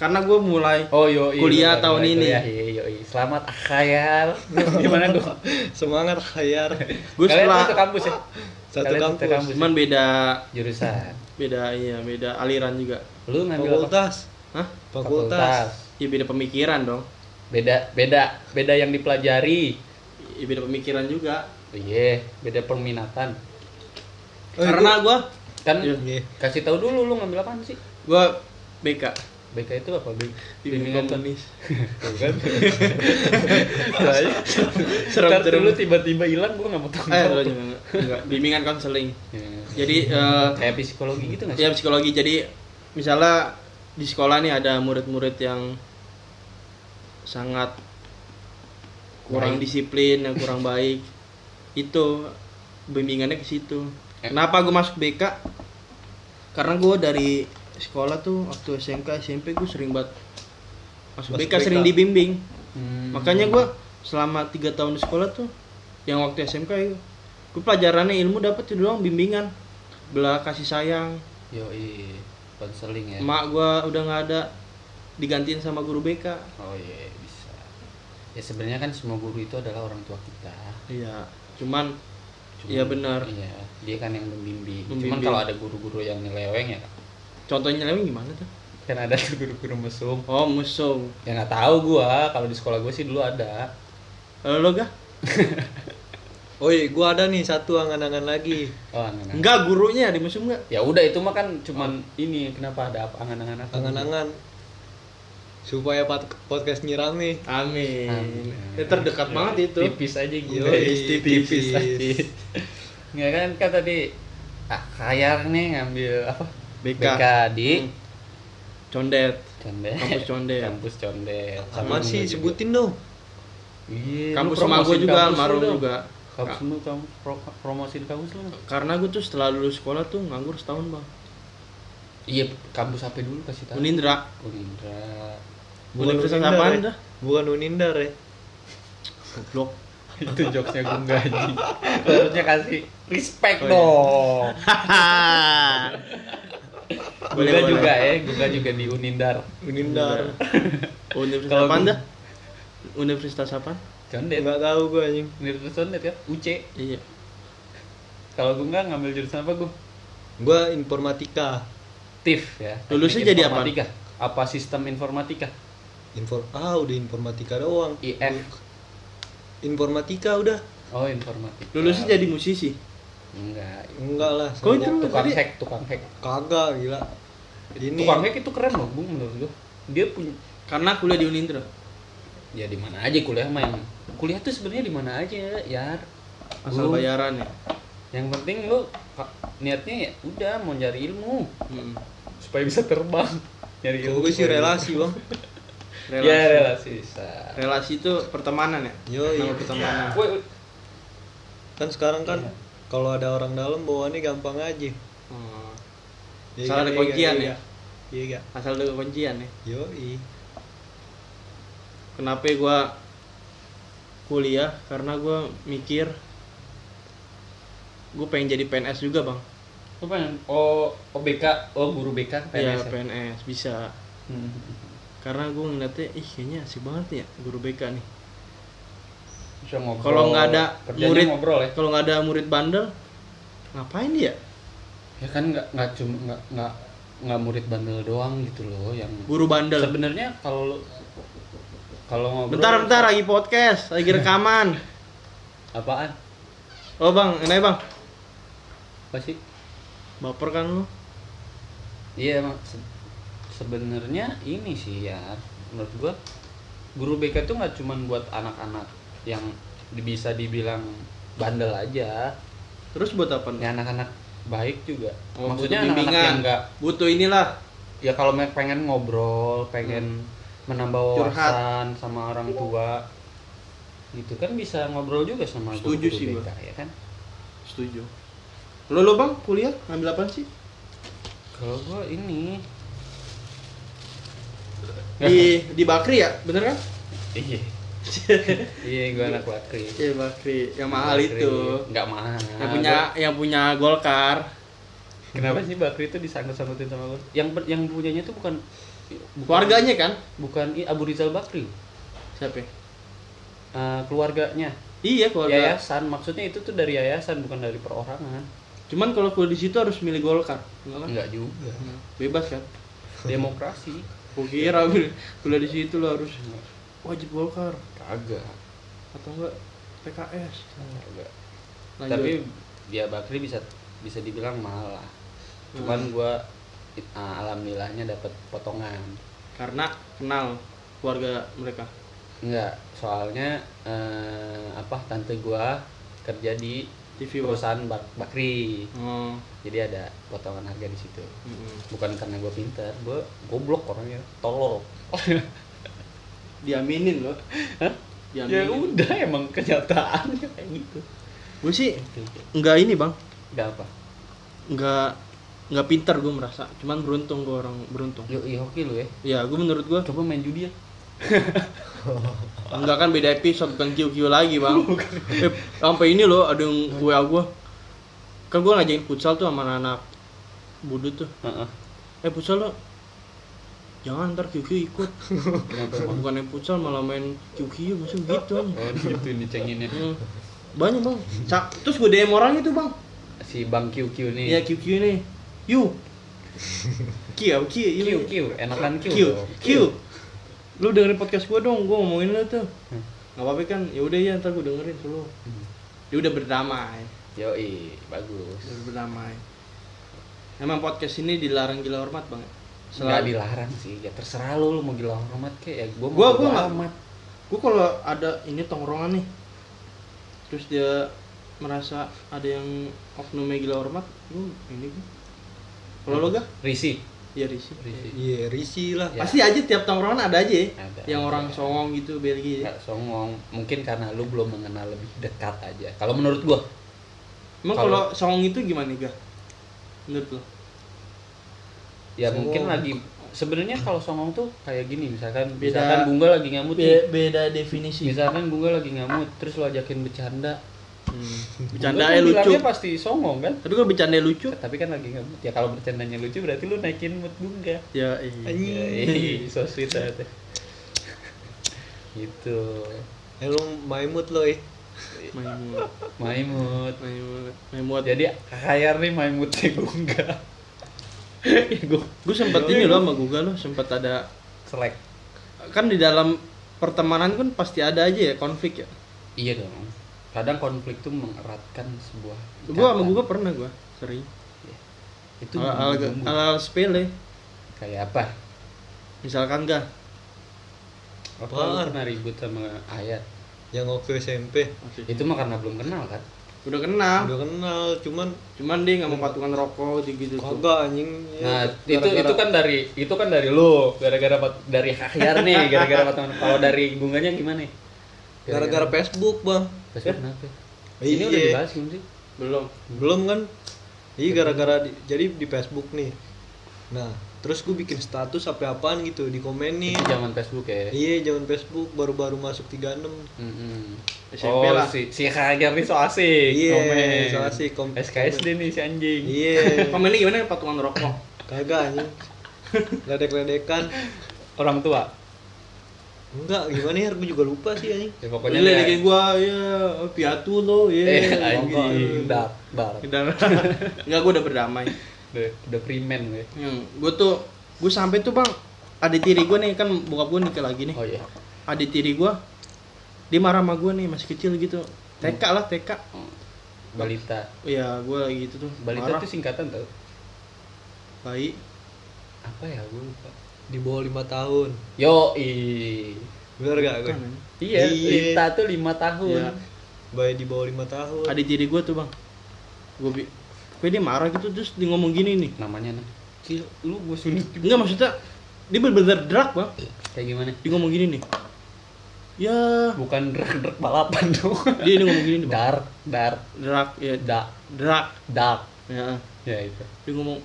S2: karena gue mulai
S1: oh yo
S2: Kuliah tahun ini.
S1: yo selamat ah, akhayal gimana tuh
S3: semangat khayar
S2: gue
S1: kalian
S2: setelah
S1: satu kampus ya
S3: Satu
S1: Kalian
S3: kampus.
S1: kampus ya?
S2: cuman beda
S1: jurusan
S2: beda iya beda aliran juga
S1: lu ngambil apa?
S3: fakultas
S2: Hah?
S3: fakultas
S2: ya beda pemikiran dong
S1: beda beda beda yang dipelajari
S2: ya beda pemikiran juga
S1: iya beda peminatan
S3: Eh,
S2: karena gue
S1: kan
S2: Iya.
S3: Iya.
S1: kasih tahu dulu lu ngambil apaan sih
S2: gue BK
S1: BK itu apa kan? BK?
S2: bimbingan komunis
S1: Bukan. Soalnya
S2: Serem,
S1: ntar
S2: serem.
S1: dulu tiba-tiba hilang gua nggak mau tahu. Iya.
S2: eh enggak, enggak, enggak. bimbingan konseling jadi eh,
S1: kayak psikologi gitu nggak sih?
S2: ya psikologi jadi misalnya di sekolah nih ada murid-murid yang sangat kurang
S1: Baik.
S2: disiplin yang kurang baik itu bimbingannya ke situ kenapa gue masuk BK karena gue dari sekolah tuh waktu SMK SMP gue sering banget masuk
S3: Masuk
S2: BK,
S3: BK.
S2: sering dibimbing
S1: Hmm.
S2: makanya gue selama tiga tahun di sekolah tuh yang waktu SMK itu gue pelajarannya ilmu dapat itu doang bimbingan belah kasih sayang
S1: Yo konseling ya.
S2: Mak gua udah nggak ada digantiin sama guru BK.
S1: Oh iya bisa. Ya sebenarnya kan semua guru itu adalah orang tua kita.
S2: Iya. Cuman
S1: Cuman-
S2: Iya, benar.
S1: Iya dia kan yang membimbing. Cuman
S2: Membimbing.
S1: kalau ada guru-guru yang nyeleweng ya
S2: contohnya lagi gimana tuh?
S1: kan ada tuh guru-guru mesum.
S2: Oh musuh.
S1: Ya nggak tahu gua kalau di sekolah gua sih dulu ada.
S2: Eh, Lo gak?
S1: Nah.
S3: oh iya gua ada nih satu angan-angan lagi
S1: Oh angan-angan.
S2: Enggak gurunya di musuh enggak?
S1: Ya udah itu mah kan cuman ini kenapa ada apa angan-angan apa?
S3: angan-angan supaya pod- podcast nyirami
S2: Amin.
S1: Amin. Iya.
S2: Ya, terdekat banget itu.
S1: Tipis aja gitu.
S3: Yoi,
S1: tipis.
S3: tipis.
S1: Nggak kan kan tadi ah, Khayar nih ngambil apa?
S2: BK.
S1: BK di
S2: Hmm. Condet.
S1: Condet.
S2: Kampus Condet.
S1: Kampus Condet. Sama
S3: sama sih
S1: juga.
S3: sebutin dong
S1: Iya,
S2: Kampus
S1: lu
S2: sama gua
S1: promosin
S2: juga
S1: kampus lu
S2: almarhum
S1: dong.
S2: juga.
S1: Kampus lu kamu pro- promosin kampus lu.
S2: Karena gue tuh setelah lulus sekolah tuh nganggur setahun bang.
S1: Iya, kampus HP dulu kasih tahu.
S2: Unindra.
S1: Unindra.
S2: Universitas
S3: Unindar,
S2: apaan
S3: ya.
S2: dah?
S3: bukan unindar ya
S2: Goblok.
S1: itu jokesnya gue gaji harusnya kasih
S2: Oh,
S1: respect
S2: iya.
S1: dong Guga
S2: Boleh, boleh.
S1: juga ya Guga juga di Unindar
S3: unindar
S2: Universitas
S1: Kalau
S2: apaan
S1: gua-
S2: dah? Universitas apaan? ya.
S1: condet
S3: nggak tahu gua anjing
S1: Universitas condet ya UC
S2: Iya.
S1: kalau gue nggak ngambil jurusan apa gue
S3: gua informatika
S1: TIF ya
S2: Lulusnya
S1: Teknik
S2: jadi apa?
S1: informatika. apa sistem informatika
S3: Info ah udah informatika doang
S1: IF
S3: informatika udah
S1: oh informatika
S2: Lulusnya jadi musisi.
S1: enggak
S3: enggak lah
S2: Kok itu lu
S1: tukang
S2: tadi?
S1: hack tukang hack
S3: kagak gila ini
S1: tukang
S2: eh?
S1: hack itu keren loh gue menurut gue dia punya
S2: Karena kuliah di Unindra.
S1: ya di mana aja kuliah mah yang kuliah tuh sebenarnya di mana aja ya
S2: Asal bayaran ya.
S1: yang penting lu ka- niatnya ya udah mau nyari ilmu
S2: Mm.
S1: supaya bisa terbang nyari
S3: Kalau gua sih
S1: supaya-
S3: relasi bang
S1: ya Oh,
S2: Relasi.
S1: iya. relasi bisa
S2: Relasi itu pertemanan ya?
S3: Yoi.
S2: Nama Iya. pertemanan.
S1: Woi, woi.
S3: iya. kan sekarang kan kalau ada orang dalam bawaannya gampang aja
S2: Oh.
S3: Iya
S2: Salah ada
S3: nggak? Iya
S2: kuncian
S3: nggak?
S2: ya?
S3: iya gak
S2: Asal ada kuncian ya.
S3: yoi
S2: Kenapa gua kuliah? Karena gua mikir gue pengen jadi PNS juga bang.
S1: Lu pengen oh OBK, oh guru BK
S2: Iya
S1: PNS. ya?
S2: PNS bisa
S1: Hmm.
S2: karena gue ngeliatnya ih kayaknya asik banget nih ya guru BK nih
S1: Bisa ngobrol.
S2: kalau nggak ada
S1: Kerjanya
S2: murid
S1: ngobrol ya.
S2: kalau nggak ada murid bandel ngapain dia
S1: Ya kan nggak nggak cuma nggak nggak nggak murid bandel doang gitu loh yang
S2: guru bandel
S1: sebenarnya kalau lu- kalau ngobrol
S2: bentar bentar lagi podcast lagi rekaman
S1: apaan
S2: oh bang enak bang
S1: apa sih
S2: baper kan lu
S1: Iya, emang se- sebenarnya ini sih ya menurut gua guru BK tuh nggak cuman buat anak-anak yang di- bisa dibilang bandel aja.
S2: terus buat apa
S1: Ya
S2: nih
S1: anak-anak baik juga.
S2: Oh,
S1: Maksudnya anak-anak
S2: butuh bimbingan.
S1: yang nggak
S2: butuh inilah
S1: ya kalau me- pengen ngobrol, pengen menambah
S2: Hmm. Curhat.
S1: wawasan sama orang tua gitu kan bisa ngobrol juga sama
S2: Setuju
S1: guru-guru
S2: sih gua.
S1: BK ya kan.
S2: setuju lo lo bang kuliah ngambil apa sih
S1: Kalau gua ini Ya.
S2: di di bakri ya bener kan
S1: iya. iya, gua anak wakri.
S2: iya bakri yang mahal itu
S1: Nggak mahal.
S2: yang punya yang punya golkar
S1: Kenapa sih Bakri itu disangkut-sangkutin sama lu? Yang ber- yang punyanya itu bukan bukan-
S2: keluarganya kan
S1: bukan I- Abu Rizal Bakri.
S2: siapa ya?
S1: Eh, keluarganya.
S2: iya keluarga
S1: Yayasan maksudnya itu tuh dari yayasan bukan dari perorangan.
S2: cuman kalau kuliah di situ harus milih golkar enggak kan
S1: Enggak
S3: iya.
S1: juga.
S2: bebas kan
S1: Demokrasi.
S2: Gua kira Bil, kuliah di situ lo harus wajib golkar
S1: Kagak.
S2: atau enggak PKS
S1: Kagak.
S2: Lanjut.
S1: Tapi ya Bakri bisa bisa dibilang mahal lah. Cuman gua it- ah, alhamdulillahnya dapat potongan.
S2: karena kenal keluarga mereka
S1: Enggak, soalnya eh, apa tante gua kerja di
S2: TV One.
S1: perusahaan Bak- Bakri.
S2: oh
S1: jadi ada potongan harga di situ
S2: mm-mm.
S1: bukan karena gue pintar gue goblok orangnya tolol
S2: diaminin loh
S1: Hah? ya
S2: diaminin
S1: udah emang kenyataannya kayak gitu
S2: gue sih enggak ini bang
S1: nggak apa
S2: enggak enggak pinter gue merasa cuman beruntung gue orang beruntung
S1: yo i hoki lu ya
S2: ya gue menurut gue
S1: coba main judi ya
S2: enggak kan beda episode bukan kiu kiu lagi bang eh, sampai ini loh ada yang wa gue kan gue ngajakin futsal tuh sama anak budut tuh
S1: Heeh.
S2: eh futsal lo jangan ntar kiu kiu ikut
S1: kenapa
S2: bukan yang futsal malah main kiu kiu maksudnya gitu kan
S1: oh gitu dicenginnya
S2: Hmm. banyak bang Cak. terus gue DM orang itu bang
S1: si bang QQ nih
S2: Iya QQ nih. You. Kiu, kiu,
S1: Q
S2: you.
S1: Q enakan Q
S2: Kiu,
S1: dong.
S2: kiu. Lu dengerin podcast gua dong, gua ngomongin lu tuh.
S1: Hmm.
S2: Nggak apa-apa kan? Ya udah ya, ntar gua dengerin dulu.
S1: Hmm.
S2: Dia udah berdamai,
S1: yo i bagus
S2: udah berdamai. Emang podcast ini dilarang gila hormat, Bang.
S1: nggak
S2: Selalu
S1: dilarang sih ya terserah lu lu mau gila hormat kayak ya gue mau
S2: Gua-
S1: bodo
S2: gua nggak-
S1: amat
S2: gua kalau ada ini tongkrongan nih. Terus dia merasa ada yang oknumnya gila hormat, lu ini gua. Kalau lo gak?
S1: risih
S2: Ya risih.
S1: risih
S3: Iya, risi lah.
S1: Ya.
S2: Pasti aja tiap tongkrongan ada aja ya.
S1: Ada. Iya.
S2: Yang orang songong gitu Belgia.
S1: nggak songong mungkin karena lu belum mengenal lebih dekat aja kalau menurut gua
S2: Emang kalau
S1: Kalau-
S2: songong itu gimana Ga? Menurut lo?
S1: ya
S3: Songong.
S1: mungkin lagi sebenarnya kalau songong tuh kayak gini misalkan
S2: Beda- Iya.
S1: misalkan bunga lagi ngamut nih.
S2: beda definisi.
S1: misalkan bunga lagi ngamut terus lu ajakin bercanda
S2: Bercanda
S1: Bunga kan
S2: ya lucu.
S1: bilangnya pasti songong kan
S2: Tapi kalau bercanda lucu,
S1: tapi kan lagi ngamut ya kalau bercandanya lucu berarti lu naikin mood bunga
S2: ya iya.
S1: Yoi, so sweet banget ya. gitu
S3: Hello, Eh, Maimut lo ya.
S2: Maimut,
S1: maimut
S2: Maimut, Maimut.
S1: jadi kayak nih maimutnya bunga ya gua
S2: gue sempat ini
S1: iya.
S2: loh sama Guga lo sempat ada
S1: selek
S2: kan di dalam pertemanan kan pasti ada aja ya konflik ya.
S1: Iya dong. Kadang konflik tuh mengeratkan sebuah.
S2: Gue sama
S1: ikatan.
S2: Guga pernah gue sering.
S1: Itu
S2: Hal
S1: bumbu-bumbu.
S2: hal sepele.
S1: kayak apa?
S2: Misalkan Ga,
S1: Apa
S3: Apaan?
S1: lu pernah ribut sama ayat?
S3: Yang waktu SMP.
S1: Itu mah karena belum kenal kan?
S2: udah kenal,
S3: Udah kenal, cuman
S2: cuman dia nggak mau patungan rokok gitu gitu.
S3: kagak anjing. Ya,
S1: Nah, itu
S3: gara-gara-
S1: itu kan dari itu kan dari lu, gara-gara pat- dari Hahyar nih, gara-gara pat- Kalau dari bunganya gimana?
S3: gara-gara Facebook, Bang.
S1: Facebook kenapa? Ini
S3: Iya.
S1: udah dibahas belum sih?
S2: Belum.
S3: Belum kan? Iya, gara-gara di- jadi di Facebook nih. Nah, terus gue bikin status apa apaan gitu dikomenin
S1: Itu zaman Facebook ya.
S3: iya jangan Facebook baru-baru masuk 36
S1: Mm-mm.
S2: SMP
S1: oh,
S2: lah.
S1: si si Hagar nih so asik.
S3: Iya,
S1: Eh, komen.
S3: so asik, kom-
S1: SKSD nih si anjing.
S3: iya
S2: Komen ini Eh, gimana patungan rokok?
S3: kagak anjing ledek-ledekan
S1: Orang tua.
S3: enggak gimana ya gue juga lupa sih anjing
S1: Ya, pokoknya
S2: Pokoknya ledekin Iya, gua, ya piatu lo, ya.
S1: Eh,
S2: Bangga,
S1: anjing,
S2: ya.
S1: dark, dark.
S2: Dan- Enggak gua udah berdamai.
S1: Udah, udah freeman gue.
S2: Yang gua tuh gua sampai tuh, Bang. Adik tiri gua nih kan bokap gua nikah lagi nih.
S1: Oh iya.
S2: Adik tiri gua dia marah sama gua nih masih kecil gitu. TK lah, TK.
S1: Balita.
S2: Iya, gua lagi gitu tuh.
S1: Balita
S2: marah.
S1: itu singkatan tau.
S2: baik.
S1: Apa ya gue lupa.
S3: di bawah lima tahun
S1: Yo,
S3: bener gak gue
S1: Iya,
S3: Iya.
S1: Lita tuh lima tahun.
S2: Iya.
S3: bayi di bawah lima tahun
S2: Adik tiri gua tuh, Bang. Gua bi Pokoknya dia marah gitu terus dia ngomong gini nih.
S1: Namanya nah. lu gue sunut juga.
S2: Enggak maksudnya dia bener-bener drag, Bang.
S1: Kayak gimana?
S2: Dia ngomong gini nih. Ya,
S1: Bukan drek-drek balapan tuh.
S2: dia ini ngomong gini nih, Bang.
S1: dark, dark,
S2: Drag ya,
S1: dark,
S2: drag.
S1: dark.
S2: Ya.
S1: Ya itu.
S2: dia ngomong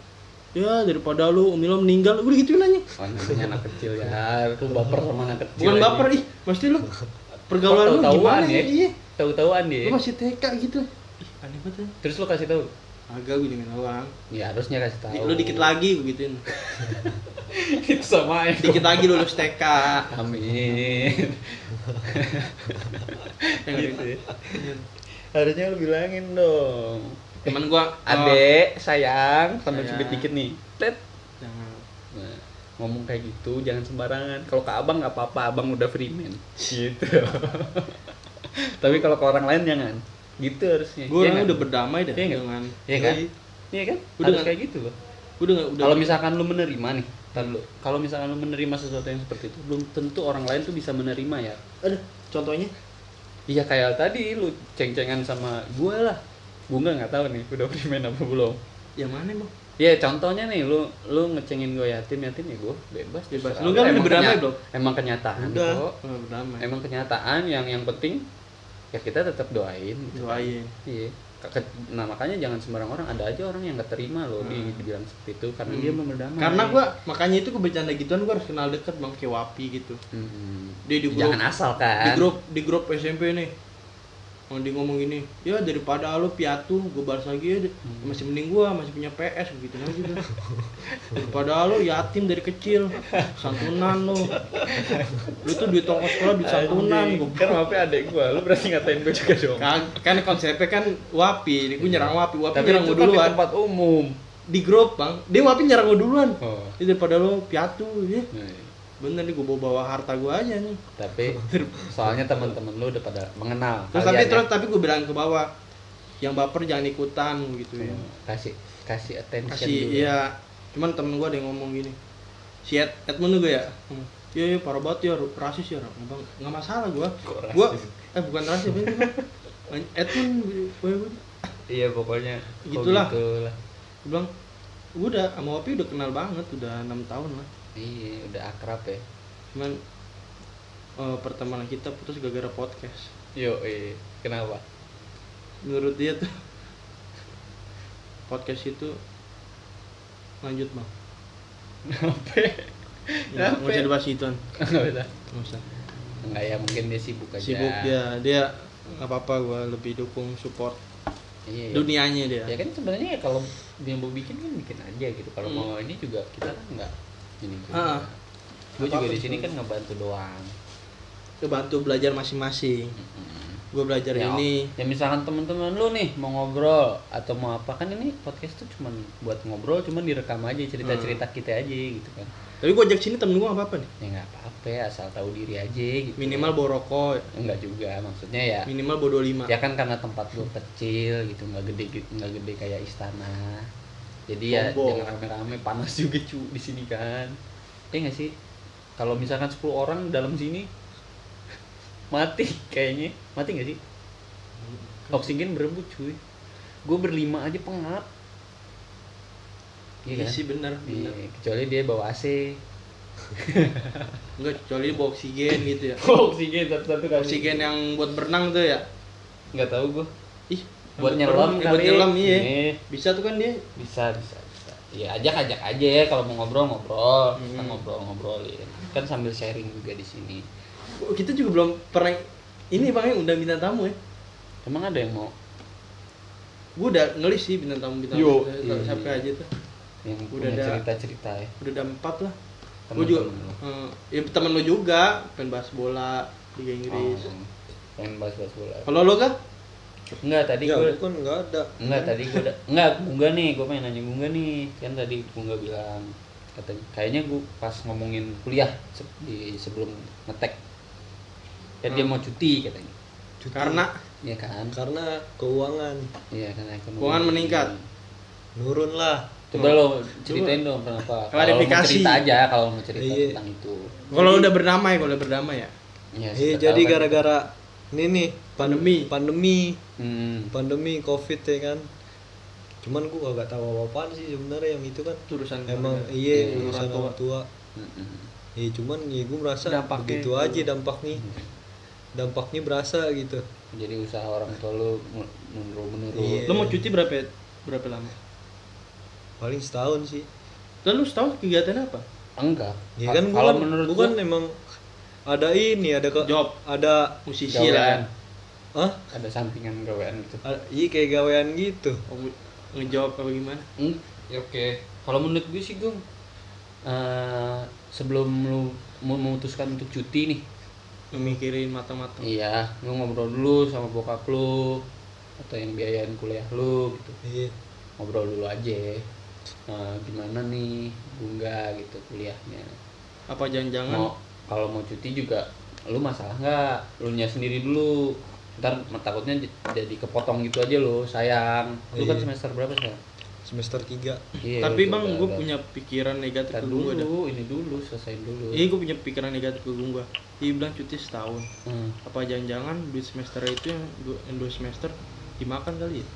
S2: ya daripada lu Umi lo meninggal udah gitu nanya
S1: Oh, namanya anak kecil ya. Lu baper sama anak kecil.
S2: bukan
S1: aja.
S2: baper ih mesti lu pergaulan lu
S1: Tahu-tahuan
S2: gimana
S1: ya?
S2: ya iya
S1: Tahu-tahuan dia.
S2: lu masih TK gitu ih aneh banget ya
S1: Terus lu kasih tahu.
S2: agak gue dengan orang
S1: Ya harusnya kasih tahu.
S2: Di- lu dikit lagi gue gituin
S1: Itu sama ya.
S2: dikit lagi lulus TK
S1: Amin.
S2: Yang gitu.
S1: ya. Harusnya lu bilangin dong.
S2: teman gua oh,
S1: Adek, sayang, sambil
S2: Sayang.
S1: cubit dikit nih. Tet.
S2: jangan
S1: Nah, ngomong kayak gitu jangan sembarangan. Kalau ke abang nggak apa-apa, abang udah freeman. Gitu. Tapi kalau ke orang lain jangan. Gitu harusnya.
S2: gue
S1: Iya
S2: orangnya
S1: nggak?
S2: udah berdamai dah
S1: Iya nggak?
S2: dengan
S1: Iya kan?
S3: Yoi.
S1: Iya kan?
S2: Udah
S1: Harus
S2: nggak?
S1: kayak gitu loh.
S2: gue udah udah
S1: Kalau misalkan lu menerima nih, tar dulu. Kalau misalkan lu menerima sesuatu yang seperti itu, belum tentu orang lain tuh bisa menerima ya.
S2: aduh contohnya
S1: Iya kayak tadi lu ceng-cengan sama gue lah. Gue nggak nggak tahu nih udah freeman apa belum.
S2: yang mana bang
S1: Ya contohnya nih lu lu ngecengin gue yatim yatim ya gue bebas.
S2: Bebas.
S1: terserah
S2: Lu kan
S1: Emang
S2: udah berdamai,
S1: kenya-
S2: Bro.
S1: Emang kenyataan
S3: Udah.
S1: kok.
S2: Gua udah berdamai
S1: Emang kenyataan yang yang penting ya kita tetap doain. gitu.
S2: doain
S1: Iya. Ke- Nah makanya jangan sembarang orang ada aja orang yang gak terima loh di dibilang seperti itu karena dia mau berdamai.
S2: Hmm. karena gua makanya itu gue bercanda gituan gue harus kenal deket bang kayak wapi gitu
S1: Mm-mm.
S2: Dia di grup-
S1: Hmm. jangan asal kan.
S2: di grup di grup SMP nih mau di ngomong gini ya daripada lu piatu gue balas lagi ya
S1: Hmm.
S2: masih mending gua masih punya PS begitu aja tuh kan, gitu. daripada lu yatim dari kecil santunan lu lu tuh duit tongkos sekolah duit santunan
S1: Anjing.
S2: gua
S1: Kan maaf ya adek gue, lu berarti ngatain gue juga dong.
S2: kan, kan konsepnya kan wapi gue nyerang wapi wapi
S1: Iya. Tapi itu
S2: nyerang gue
S1: kan di
S2: duluan
S1: tempat umum.
S2: di grup bang dia wapi nyerang gue duluan
S1: Oh. iya.
S2: ya, daripada lu piatu ya bener nih gue bawa bawa harta gue aja nih
S1: Tapi soalnya teman-teman lu udah pada mengenal.
S2: terus tapi
S1: kalian ya.
S2: terus tapi gue bilang ke bawah yang baper jangan ikutan gitu ya
S1: Iya. kasih kasih attention
S2: kasih
S1: dulu.
S2: iya cuman temen gue ada yang ngomong gini si Ed, Edmund juga ya hmm. iya iya parah banget ya ru- rasis ya orang bang nggak masalah gue gue eh bukan rasis apa sih, Bang? Edmund gue gue
S1: Iya pokoknya kok
S2: Gitulah.
S1: gitulah.
S2: gue bilang gue udah sama Wapi udah kenal banget udah enam tahun lah
S1: Iya, udah akrab ya.
S2: cuman eh, pertemanan kita putus gara-gara podcast
S1: Yo, eh, kenapa?
S2: menurut dia tuh podcast itu lanjut bang Ya, nggak usah dibahas gituan
S1: Enggak usah.
S2: nggak usah
S1: Enggak ya, mungkin dia sibuk aja.
S2: sibuk dia dia nggak apa-apa gue lebih dukung support
S1: Iya. iya.
S2: dunianya dia
S1: Ya kan sebenarnya ya kalau dia mau bikin kan bikin aja gitu. Kalau
S2: Hmm.
S1: mau ini juga kita kan enggak ini
S2: Ah.
S1: juga. Gue juga
S2: Apa-apa
S1: di sini
S2: sih.
S1: kan ngebantu doang.
S2: Dia bantu belajar masing-masing gue belajar
S1: Ya,
S2: Hmm. ini
S1: ya misalkan teman-teman lu nih mau ngobrol atau mau apa kan ini podcast tuh cuman buat ngobrol cuman direkam aja cerita-cerita
S2: Hmm.
S1: kita aja gitu kan
S2: tapi gue ajak sini temen gue nggak apa-apa nih
S1: ya nggak apa-apa ya, asal tahu diri aja gitu
S2: minimal bawa rokok
S1: enggak juga maksudnya ya
S2: minimal bawa 25
S1: ya kan karena tempat lu kecil gitu nggak gede nggak gede kayak istana jadi ya jangan
S2: Sombong.
S1: rame-rame panas juga cu di sini kan ya nggak sih kalau misalkan 10 orang dalam sini mati kayaknya mati nggak sih oksigen berebut cuy gue berlima aja pengap
S2: iya
S1: iya kan?
S2: sih bener
S1: Iya,
S2: bener
S1: kecuali dia bawa AC
S2: enggak kecuali bawa oksigen gitu ya
S1: oksigen satu-satu kali
S2: oksigen yang buat berenang tuh ya
S1: nggak tahu gue
S2: ih
S1: buat
S2: yang
S1: nyelam
S2: berenang,
S1: kali
S2: buat nyelam iya
S1: Nih,
S2: bisa tuh kan dia
S1: bisa bisa bisa ya ajak ajak aja ya kalau mau ngobrol ngobrol kita
S2: Hmm.
S1: ngobrol ngobrolin kan sambil sharing juga di sini
S2: Oh, Kita juga belum pernah ini bang ya undang bintang tamu ya.
S1: emang ada yang mau
S2: Gue udah ngelis sih bintang tamu bintang
S6: Yo,
S2: tamu kita,
S1: iya.
S2: siapa aja tuh.
S1: yang
S2: Udah
S1: punya
S2: ada.
S1: cerita cerita ya
S2: Udah ada empat lah. Gue juga
S1: Temen-temen lu.
S2: eh, ya teman lo juga pengen bahas bola Liga Inggris.
S1: Oh, pengen bahas bahas bola
S2: Kalau lo kah?
S1: enggak tadi
S3: Ya,
S1: gue
S3: bukan nggak ada.
S1: Enggak tadi gue udah enggak Gungga nih, gue pengen nanya Gungga nih. Kan tadi Gungga bilang katanya kayaknya gue pas ngomongin kuliah se- di sebelum ngetek. Ya dia mau cuti katanya.
S3: Cuti.
S2: Karena
S1: Iya kan?
S3: karena keuangan
S1: Iya kan ekonomi.
S2: Keuangan meningkat.
S3: nurun lah.
S1: Coba lo ceritain dong kenapa. Kalau lo mau
S2: Klarifikasi.
S1: cerita aja kalau mau cerita
S3: Iya.
S1: tentang itu.
S2: kalau udah berdamai, kalau udah berdamai ya.
S1: Iya,
S3: Iya,
S1: siapa
S3: jadi
S1: tahu kan.
S3: gara-gara ini nih pandemi, pandemi,
S1: Hmm.
S3: pandemi Covid ya kan. Cuman gua agak tahu apa-apaan sih sebenarnya yang itu kan.
S2: Itu urusan
S3: Emang
S2: keluarga.
S3: iya
S1: Iya,
S3: urusan
S2: orang
S3: orang tua.
S1: Mm-mm.
S3: Iya, cuman ya gua merasa
S2: Dampaknya
S3: begitu
S2: itu.
S3: aja dampaknya. Dampaknya berasa gitu.
S1: Jadi usaha orang tua lo menurun menurun.
S3: Iya.
S2: Lo mau cuti berapa ya? berapa lama?
S3: Paling setahun sih.
S2: Lalu setahun kegiatan apa?
S1: Enggak.
S3: Ya kan gua
S1: kalau
S3: kan-
S1: menurut
S3: gua
S1: gue
S3: kan emang ada ini, ada ke,
S2: Job.
S3: ada
S2: Musisi
S1: kan.
S2: lah.
S3: Hah?
S1: ada sampingan gawean gitu.
S3: Ada- Iya kayak gawean gitu.
S2: Oh, mu- ngejawab apa gimana?
S1: Hmm, ya oke. Kalau menurut gue sih, Gung, eh, sebelum lu mau memutuskan untuk cuti nih,
S2: Lo mikirin matang-matang.
S1: iya, lu ngobrol dulu sama bokap lu atau yang biayain kuliah lu gitu.
S3: Iya.
S1: Ngobrol dulu aja. Eh, gimana nih, Bungga gitu kuliahnya.
S2: Apa jangan-jangan
S1: Mau kalau mau cuti juga lu masalah nggak? Lu nya sendiri dulu. Ntar takutnya j- jadi kepotong gitu aja lo, sayang. Lu kan
S3: Iya.
S1: semester berapa sayang?
S3: Semester 3.
S1: Iya,
S2: Tapi
S1: lu
S2: bang,
S1: udah-
S2: gue
S1: udah-
S2: punya pikiran negatif
S1: Ntar
S2: ke
S1: dulu,
S2: gue dah.
S1: ini dulu, selesai dulu.
S2: Iya, gue punya pikiran negatif ke gue. Dia bilang cuti setahun.
S1: Hmm.
S2: Apa jangan-jangan duit semester itu yang, du- yang dua semester dimakan kali ya?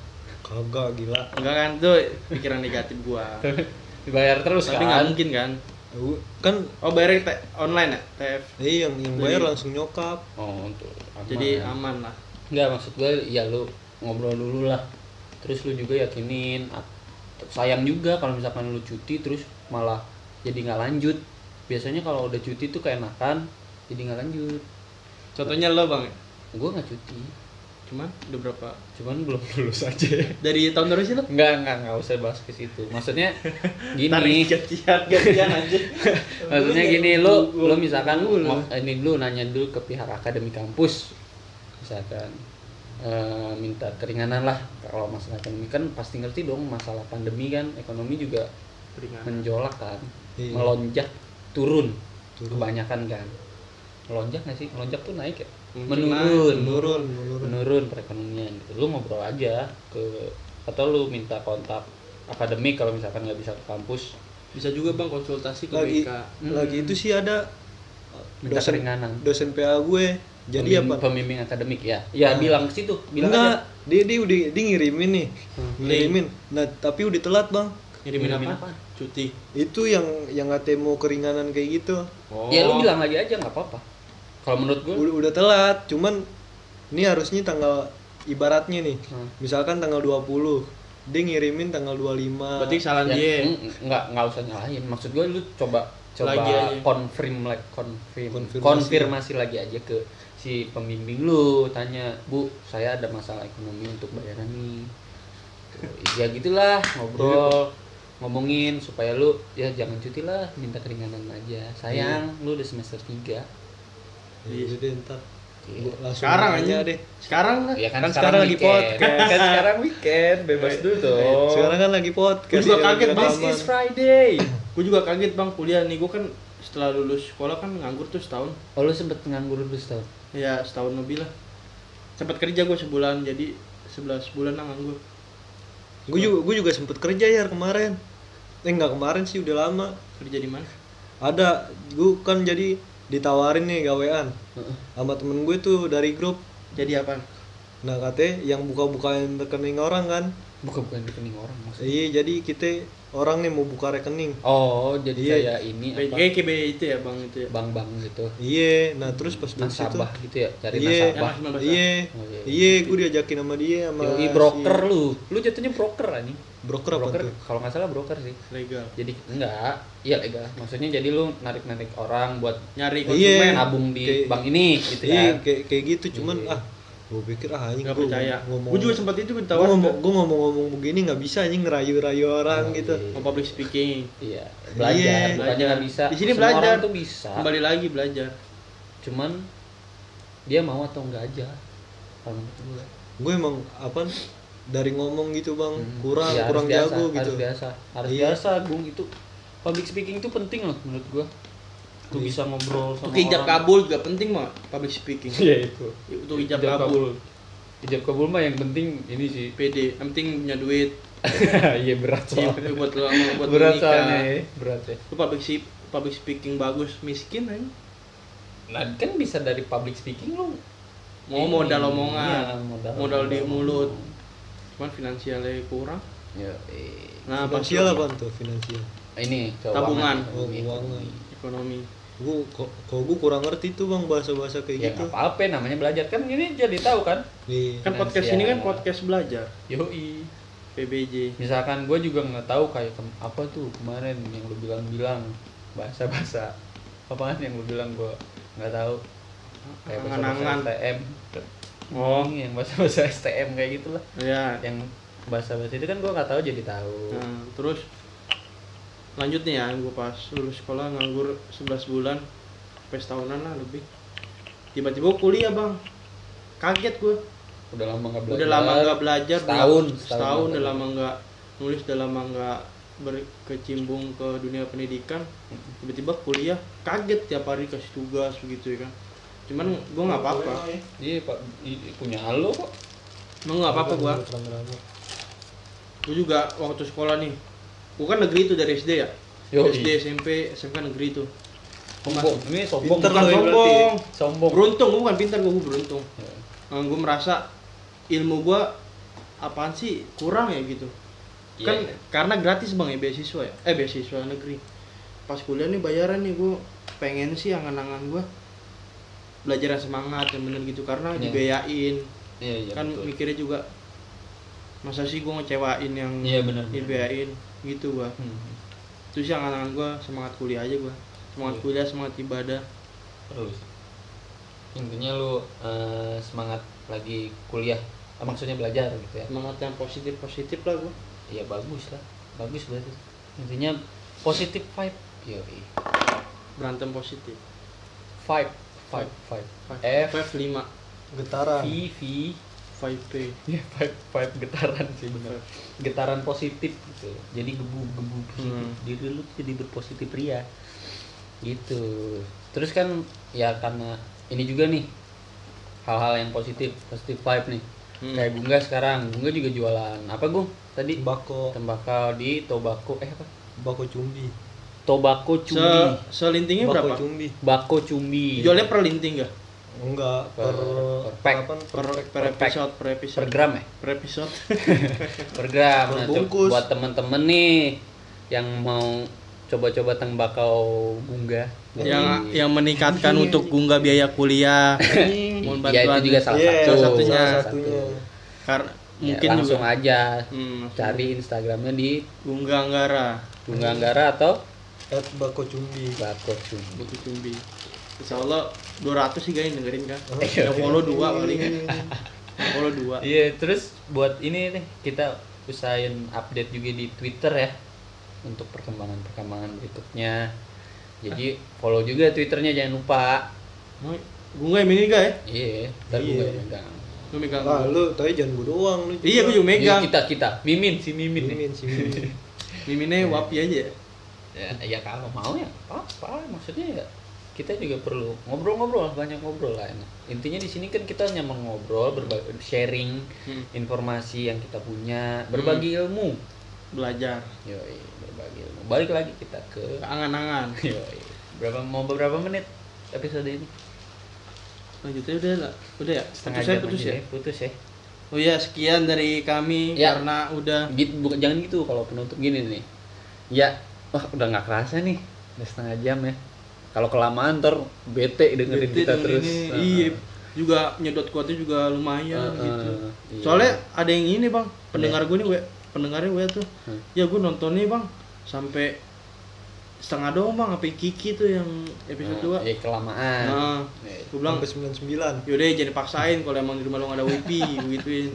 S3: Kagak gila.
S2: Enggak kan, tuh pikiran negatif gue.
S1: Dibayar terus
S2: Tapi nggak
S1: kan?
S2: mungkin kan?
S3: Gua- Kan
S2: Oh bayarnya te- online ya, TF.
S3: iya yang, yang bayar
S2: Jadi-
S3: langsung nyokap.
S1: Oh, untuk aman.
S2: Jadi aman lah.
S1: Nggak, maksud gue ya lu ngobrol dulu lah. Terus lu juga yakinin at- sayang juga kalau misalkan lu cuti terus malah jadi nggak lanjut. Biasanya kalau udah cuti tuh keenakan jadi nggak lanjut.
S2: Contohnya lo
S1: ya?
S2: bang,
S1: Gue nggak cuti,
S2: cuman udah berapa?
S1: cuman belum lulus aja.
S2: Dari tahun berapa sih lo?
S1: Enggak, enggak, enggak usah bahas ke situ. Maksudnya
S2: Tarik
S1: gini.
S2: gantian, gantian aja.
S1: maksudnya gini lu lu misalkan mau- ini lu nanya dulu ke pihak akademi kampus misalkan eh, minta keringanan lah kalau masalah ekonomi kan pasti ngerti dong masalah pandemi kan ekonomi juga
S2: Nah.
S1: menjolak kan
S3: Iya.
S1: melonjak turun,
S3: Turun.
S1: kebanyakan kan melonjak nggak sih melonjak tuh naik ya
S2: Mungkin
S1: menurun
S3: Menurun, menurun.
S1: menurun perekonomian gitu. lu ngobrol aja ke atau lu minta kontak akademik kalau misalkan nggak bisa ke kampus
S2: Bisa juga bang konsultasi ke
S3: Lagi
S2: BK.
S3: lagi itu sih ada
S1: Hmm. minta
S3: dosen
S1: keringanan
S3: dosen PA gue. Jadi
S1: pembimbing,
S3: apa?
S1: pembimbing akademik ya ya bilang ke situ bilang
S3: Enggak,
S1: aja Hmm.
S3: dia dia udah dia ngirimin nih. Ngirimin. Nah, tapi udah telat, Bang.
S2: Ngirimin
S1: Ngirimin
S2: apa?
S1: apa?
S2: Cuti.
S3: Itu yang yang katanya mau keringanan kayak gitu.
S2: Oh.
S1: ya lu bilang lagi aja nggak apa-apa kalau menurut gue
S3: Udah, udah telat, cuman ini harusnya tanggal ibaratnya nih.
S1: Hmm.
S3: Misalkan tanggal 20, dia ngirimin tanggal 25.
S2: Berarti kesalahan
S1: ya,
S2: dia.
S1: mm, mm, nggak nggak usah nyalahin maksud gue lu coba coba
S2: Lagi aja.
S1: confirm like confirm
S3: Konfirmasi.
S1: konfirmasi. lagi aja ke si pembimbing lu tanya bu saya ada masalah ekonomi untuk bayaran nih Tuh, ya gitulah ngobrol ngomongin supaya lu ya jangan cuti lah minta keringanan aja sayang lu udah semester 3
S3: Iya, deh ntar.
S1: Iya.
S3: Gua langsung
S2: Sekarang
S3: nanya
S2: aja deh. Sekarang lah.
S1: Ya kan,
S3: Kan
S1: sekarang, Iya.
S3: sekarang lagi
S1: weekend.
S3: podcast.
S1: kan sekarang weekend, bebas dulu dong.
S3: Sekarang kan lagi podcast.
S2: Gua juga
S3: ya,
S2: kaget,
S3: rekaman.
S2: This
S1: is Friday.
S2: Gue juga kaget bang kuliah nih. Gue kan setelah lulus sekolah kan nganggur tuh setahun.
S1: Oh lu sempet nganggur dulu setahun.
S2: Ya setahun lebih lah. Sempat kerja gue sebulan jadi 11 bulan lah nganggur.
S3: Gue juga gue juga sempet kerja ya kemarin. Eh nggak kemarin sih udah lama.
S2: Kerja di mana?
S3: Ada gue kan jadi ditawarin nih gawean sama temen gue tuh dari grup.
S2: Jadi apa?
S3: Nah katanya yang buka-bukain rekening orang kan.
S1: buka bukan rekening orang maksudnya
S3: Iya, jadi kita orang nih mau buka rekening.
S1: oh jadi
S3: Iya.
S1: kayak ini apa
S2: Kayak kayak BI itu ya bang itu ya.
S1: bank bank gitu
S3: Iya, nah terus pas dari situ
S1: nasabah gitu ya cari
S3: Iya,
S1: nasabah
S2: Yang masih
S3: iya,
S1: Oh, iya.
S3: iya, gue diajakin sama dia sama
S1: Yoi,
S3: si-
S1: broker lu lu jatuhnya broker anjing
S3: broker apa
S1: broker
S3: tuh?
S1: kalau nggak salah broker sih
S2: Legal.
S1: jadi enggak iya legal maksudnya jadi lu narik narik orang buat
S2: Nyari
S3: Iya.
S2: konsumen.
S1: nabung di
S3: Kayak-
S1: bank ini gitu
S3: Iya,
S1: kan
S3: kayak kayak gitu, cuman
S1: Iya.
S3: ah, gue pikir ah anjing
S2: Gak
S3: gue
S2: percaya.
S3: ngomong.
S2: Gue juga sempat itu gue
S3: gue
S2: ditawarin
S3: ngomong,
S2: Bang.
S3: gue ngomong-ngomong begini nggak bisa anjing ngerayu-rayu orang gitu.
S2: Mau public speaking.
S1: iya belajar
S3: Iya.
S1: bukannya nggak bisa
S2: Eh, Di sini
S1: Semua orang
S2: belajar.
S1: tuh bisa
S2: Kembali lagi belajar.
S1: cuman dia mau atau enggak aja kalau menurut gue
S3: Gue emang apa dari ngomong gitu bang
S1: Hmm.
S3: kurang
S1: Iya, harus
S3: kurang
S1: biasa,
S3: jago gitu.
S1: harus biasa harus
S3: Iya.
S1: biasa Gung itu public speaking itu penting loh menurut gua
S3: Iya.
S1: lu bisa ngobrol sama
S2: Untuk ijab
S1: orang.
S2: kabul juga penting mah public speaking.
S1: iya itu
S2: Untuk ijab
S1: Ijab
S2: kabul.
S1: ijab kabul mah yang penting ini sih
S2: PD, yang penting punya duit.
S1: iya berat
S2: Iya,
S1: soalnya
S2: buat lo sama- buat
S1: berat
S2: nikah.
S1: soalnya ya berat ya
S2: Lu public sip- public speaking bagus miskin aja.
S1: nah kan bisa dari public speaking lu ini,
S2: Mau modal omongan,
S1: iya, modal,
S2: modal di
S1: omongan.
S2: mulut. Cuman finansialnya kurang.
S1: Iya, eh,
S2: Nah, pas
S3: Finansial
S2: lu-
S3: apa tuh finansial?
S1: ini Iya,
S2: Tabungan.
S3: Oh, keuangan.
S2: Ekonomi. Kan
S3: Gue kok kok gue kurang ngerti tuh bang bahasa-bahasa kayak
S1: ya
S3: gitu. Iya.
S1: nggak apa-apa namanya belajar kan ini jadi tahu kan
S3: Nih,
S2: Kan podcast ini kan
S1: Finansial.
S2: podcast belajar.
S1: yoi
S2: PBJ.
S1: misalkan gue juga nggak tahu kayak kem- apa tuh kemarin yang lu bilang-bilang bahasa bahasa apaan yang lu bilang gue nggak tahu kayak bahasa bahasa
S2: Angan-angan.
S1: STM
S2: Oh,
S1: Ini Hmm, yang bahasa bahasa STM kayak gitulah
S2: ya.
S1: yang bahasa bahasa itu kan gue nggak tahu jadi tahu
S2: Nah, terus lanjut nih ya, gue pas lulus sekolah nganggur 11 bulan, sampai setahunan lah lebih. Tiba-tiba gua kuliah bang, kaget gue.
S1: udah lama nggak belajar
S2: Udah lama nggak belajar, udah-
S1: setahun
S2: setahun
S1: nggak
S2: udah lama
S1: belajar.
S2: nggak nulis, udah lama nggak berkecimpung ke dunia pendidikan. Tiba-tiba kuliah, kaget tiap hari kasih tugas begitu ya kan. Cuman gue nggak apa-apa,
S1: iya pak i- i- punya lo kok
S2: emang nggak apa-apa gue. Gue juga waktu sekolah nih, gue kan negeri itu dari SD ya.
S1: Yoi.
S2: SD, SMP, SMK negeri itu.
S1: iya. sombong ini sombong bukan
S2: Pinter lah ya berarti.
S1: sombong sombong
S2: Oh, beruntung gue bukan pintar gue beruntung
S1: Ya.
S2: gue merasa ilmu gue apaan sih kurang ya gitu
S1: Iya,
S2: kan
S1: iya.
S2: karena gratis bang ya beasiswa ya eh beasiswa negeri pas kuliah nih bayaran nih gue pengen sih angan-angan gue belajar yang semangat yang bener gitu karena
S1: Iya.
S2: dibiayain
S1: iya iya
S2: kan
S1: betul.
S2: mikirnya juga masa sih gue ngecewain yang
S1: iya benar
S2: dibiayain gitu gue
S1: Hmm,
S2: itu sih angan-angan gue semangat kuliah aja gue semangat
S1: Iya.
S2: kuliah semangat ibadah
S1: terus intinya lu eh, semangat lagi kuliah Eh, maksudnya belajar gitu ya
S2: semangat yang positif positif lah gue
S1: ya bagus lah bagus berarti intinya positif vibe Yoi.
S2: berantem positif
S1: vibe vibe vibe
S2: F
S1: F
S2: lima
S3: getaran.
S1: V V
S2: five P
S1: ya vibe vibe getaran sih bener getaran positif gitu jadi gebu gebu positif
S2: Hmm.
S1: diri lu tuh jadi berpositif ria gitu terus kan ya karena ini juga nih hal-hal yang positif positif vibe nih
S2: Hmm.
S1: kayak Bunga sekarang Bunga juga jualan apa Gung tadi
S3: Bako
S1: tembakau di tobako eh apa
S3: bako cumbi.
S1: tobako
S2: Se
S1: cumbi
S2: selintingnya
S3: Bako
S2: berapa?
S3: cumbi.
S1: bako cumbi
S2: Jualnya per linting gak?
S3: Enggak per,
S1: Per- per pack.
S3: apa,
S2: Per, per
S1: Per pack.
S2: episode, per
S1: per
S2: episode,
S1: gram ya
S2: per episode.
S1: per gram
S3: Per
S1: Nah, co-
S3: bungkus.
S1: buat temen-temen nih yang mau coba-coba tembakau bunga
S2: yang yang meningkatkan untuk gungga biaya kuliah.
S1: ya
S2: Mohon
S1: itu
S2: bantuan.
S1: juga salah
S3: Iya,
S1: satu
S3: salah satunya.
S1: Salah
S3: Salah satunya.
S2: Karena
S1: Ya,
S2: mungkin
S1: langsung
S2: juga
S1: aja
S2: Hmm.
S1: cari instagramnya di
S2: gungga anggara,
S1: bunga anggara atau
S3: at bako cumbi.
S1: bako cumbi
S2: butuh cumbi. Insya Allah 200 sih guys dengerin kan.
S3: Iya.
S2: Yang follow dua paling. Yang follow dua.
S1: Iya, terus buat ini nih kita usahain update juga di Twitter ya untuk perkembangan-perkembangan berikutnya. Jadi follow juga Twitternya jangan lupa.
S2: Mau gungga yang ini guys.
S1: Iya, ntar
S3: Iya.
S1: gue yang megang.
S2: Lu megang.
S3: Ah lu tapi jangan gue doang lu.
S2: Iya, gue juga megang.
S1: Iya, kita kita Mimin si Mimin nih.
S3: Mimin sih Mimin.
S2: Miminnya wapi aja.
S1: Ya, ya kalau mau ya apa maksudnya ya kita juga perlu ngobrol-ngobrol banyak ngobrol lah enak. Intinya di sini kan kita nyaman ngobrol, berbagi sharing
S2: Hmm.
S1: informasi yang kita punya, berbagi ilmu.
S2: Belajar.
S1: Yoi, berbagi ilmu. Balik lagi kita ke
S2: Angan-angan.
S1: Yoi. Berapa mau berapa menit episode ini?
S2: Lanjutnya udah lah. Udah ya. Putus
S1: jam
S2: ya, putus
S1: aja
S2: ya.
S1: Putus ya.
S2: Oh ya, sekian dari kami
S1: Ya.
S2: karena udah
S1: Gitu, bukan- jangan gitu kalau penutup gini nih. Ya, wah udah nggak kerasa nih, udah setengah jam ya. Kalau kelamaan ntar bete dengerin
S2: Bete
S1: kita
S2: dengerin
S1: terus. Ah,
S2: ini,
S1: Heeh.
S2: iya. juga nyedot kuatnya juga lumayan
S1: Heeh,
S2: gitu.
S1: iya.
S2: Soalnya ada yang ini, Bang. Pendengar gue nih, we, pendengarnya gue tuh.
S1: Hmm.
S2: Ya gue nonton nih, Bang, sampai setengah doang, Bang, sampai Kiki tuh yang episode
S1: Nah,
S2: 2.
S1: iya, kelamaan.
S2: Nah,
S1: Iya.
S2: gue bilang,
S3: Sampai 99.
S2: yaudah jangan dipaksain kalau emang di rumah lo gak ada wifi, gitu gituin.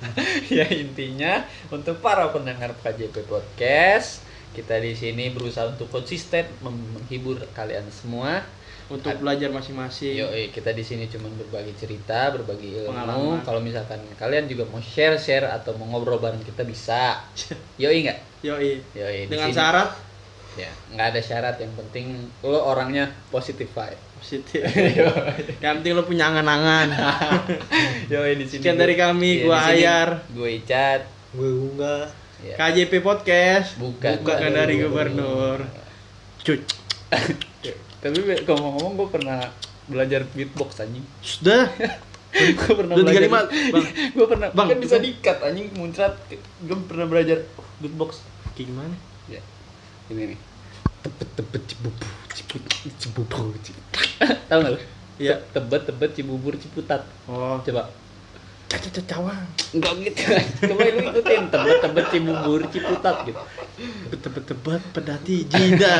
S1: ya intinya untuk para pendengar KJP Podcast kita di sini berusaha untuk konsisten mem- menghibur kalian semua.
S2: Untuk belajar masing-masing.
S1: Yoi, kita di sini cuma berbagi cerita, berbagi ilmu.
S2: Pengalaman.
S1: Kalau misalkan kalian juga mau share-share atau mau ngobrol bareng kita bisa. Yoi nggak?
S2: Yoi.
S1: Yoi. di
S2: Dengan
S1: sini-
S2: syarat
S1: Ya, nggak ada syarat. Yang penting lo orangnya positive vibe.
S2: positif. yang penting lo punya angan-angan.
S1: Yoi di sini.
S2: Sekian dari kami, gua Ayar.
S1: gue Icat.
S3: Gue unggah.
S1: Ya.
S2: KJP Podcast.
S1: Bukan,
S2: Bukan dari gubernur. Cuy.
S1: Tapi be- ngomong-ngomong gue pernah belajar beatbox anjing.
S2: Sudah.
S1: gue pernah
S2: Dua, tiga,
S1: belajar.
S2: lima, Bang.
S1: gue pernah
S2: Bang,
S1: kan bisa
S2: itu-
S1: dikat anjing muncrat. Gue pernah belajar beatbox.
S2: Kayak gimana?
S1: Ya. Ini nih. Tebet tebet cibubur cibut cibubur cibut. Tahu enggak lu?
S2: Iya.
S1: Tebet tebet cibubur ciputat.
S2: Oh,
S1: Coba.
S2: cacat cawang.
S1: Enggak gitu. Coba lu ikutin tebet tebet cibubur ciputat gitu.
S2: Tebet-tebet pedati jida.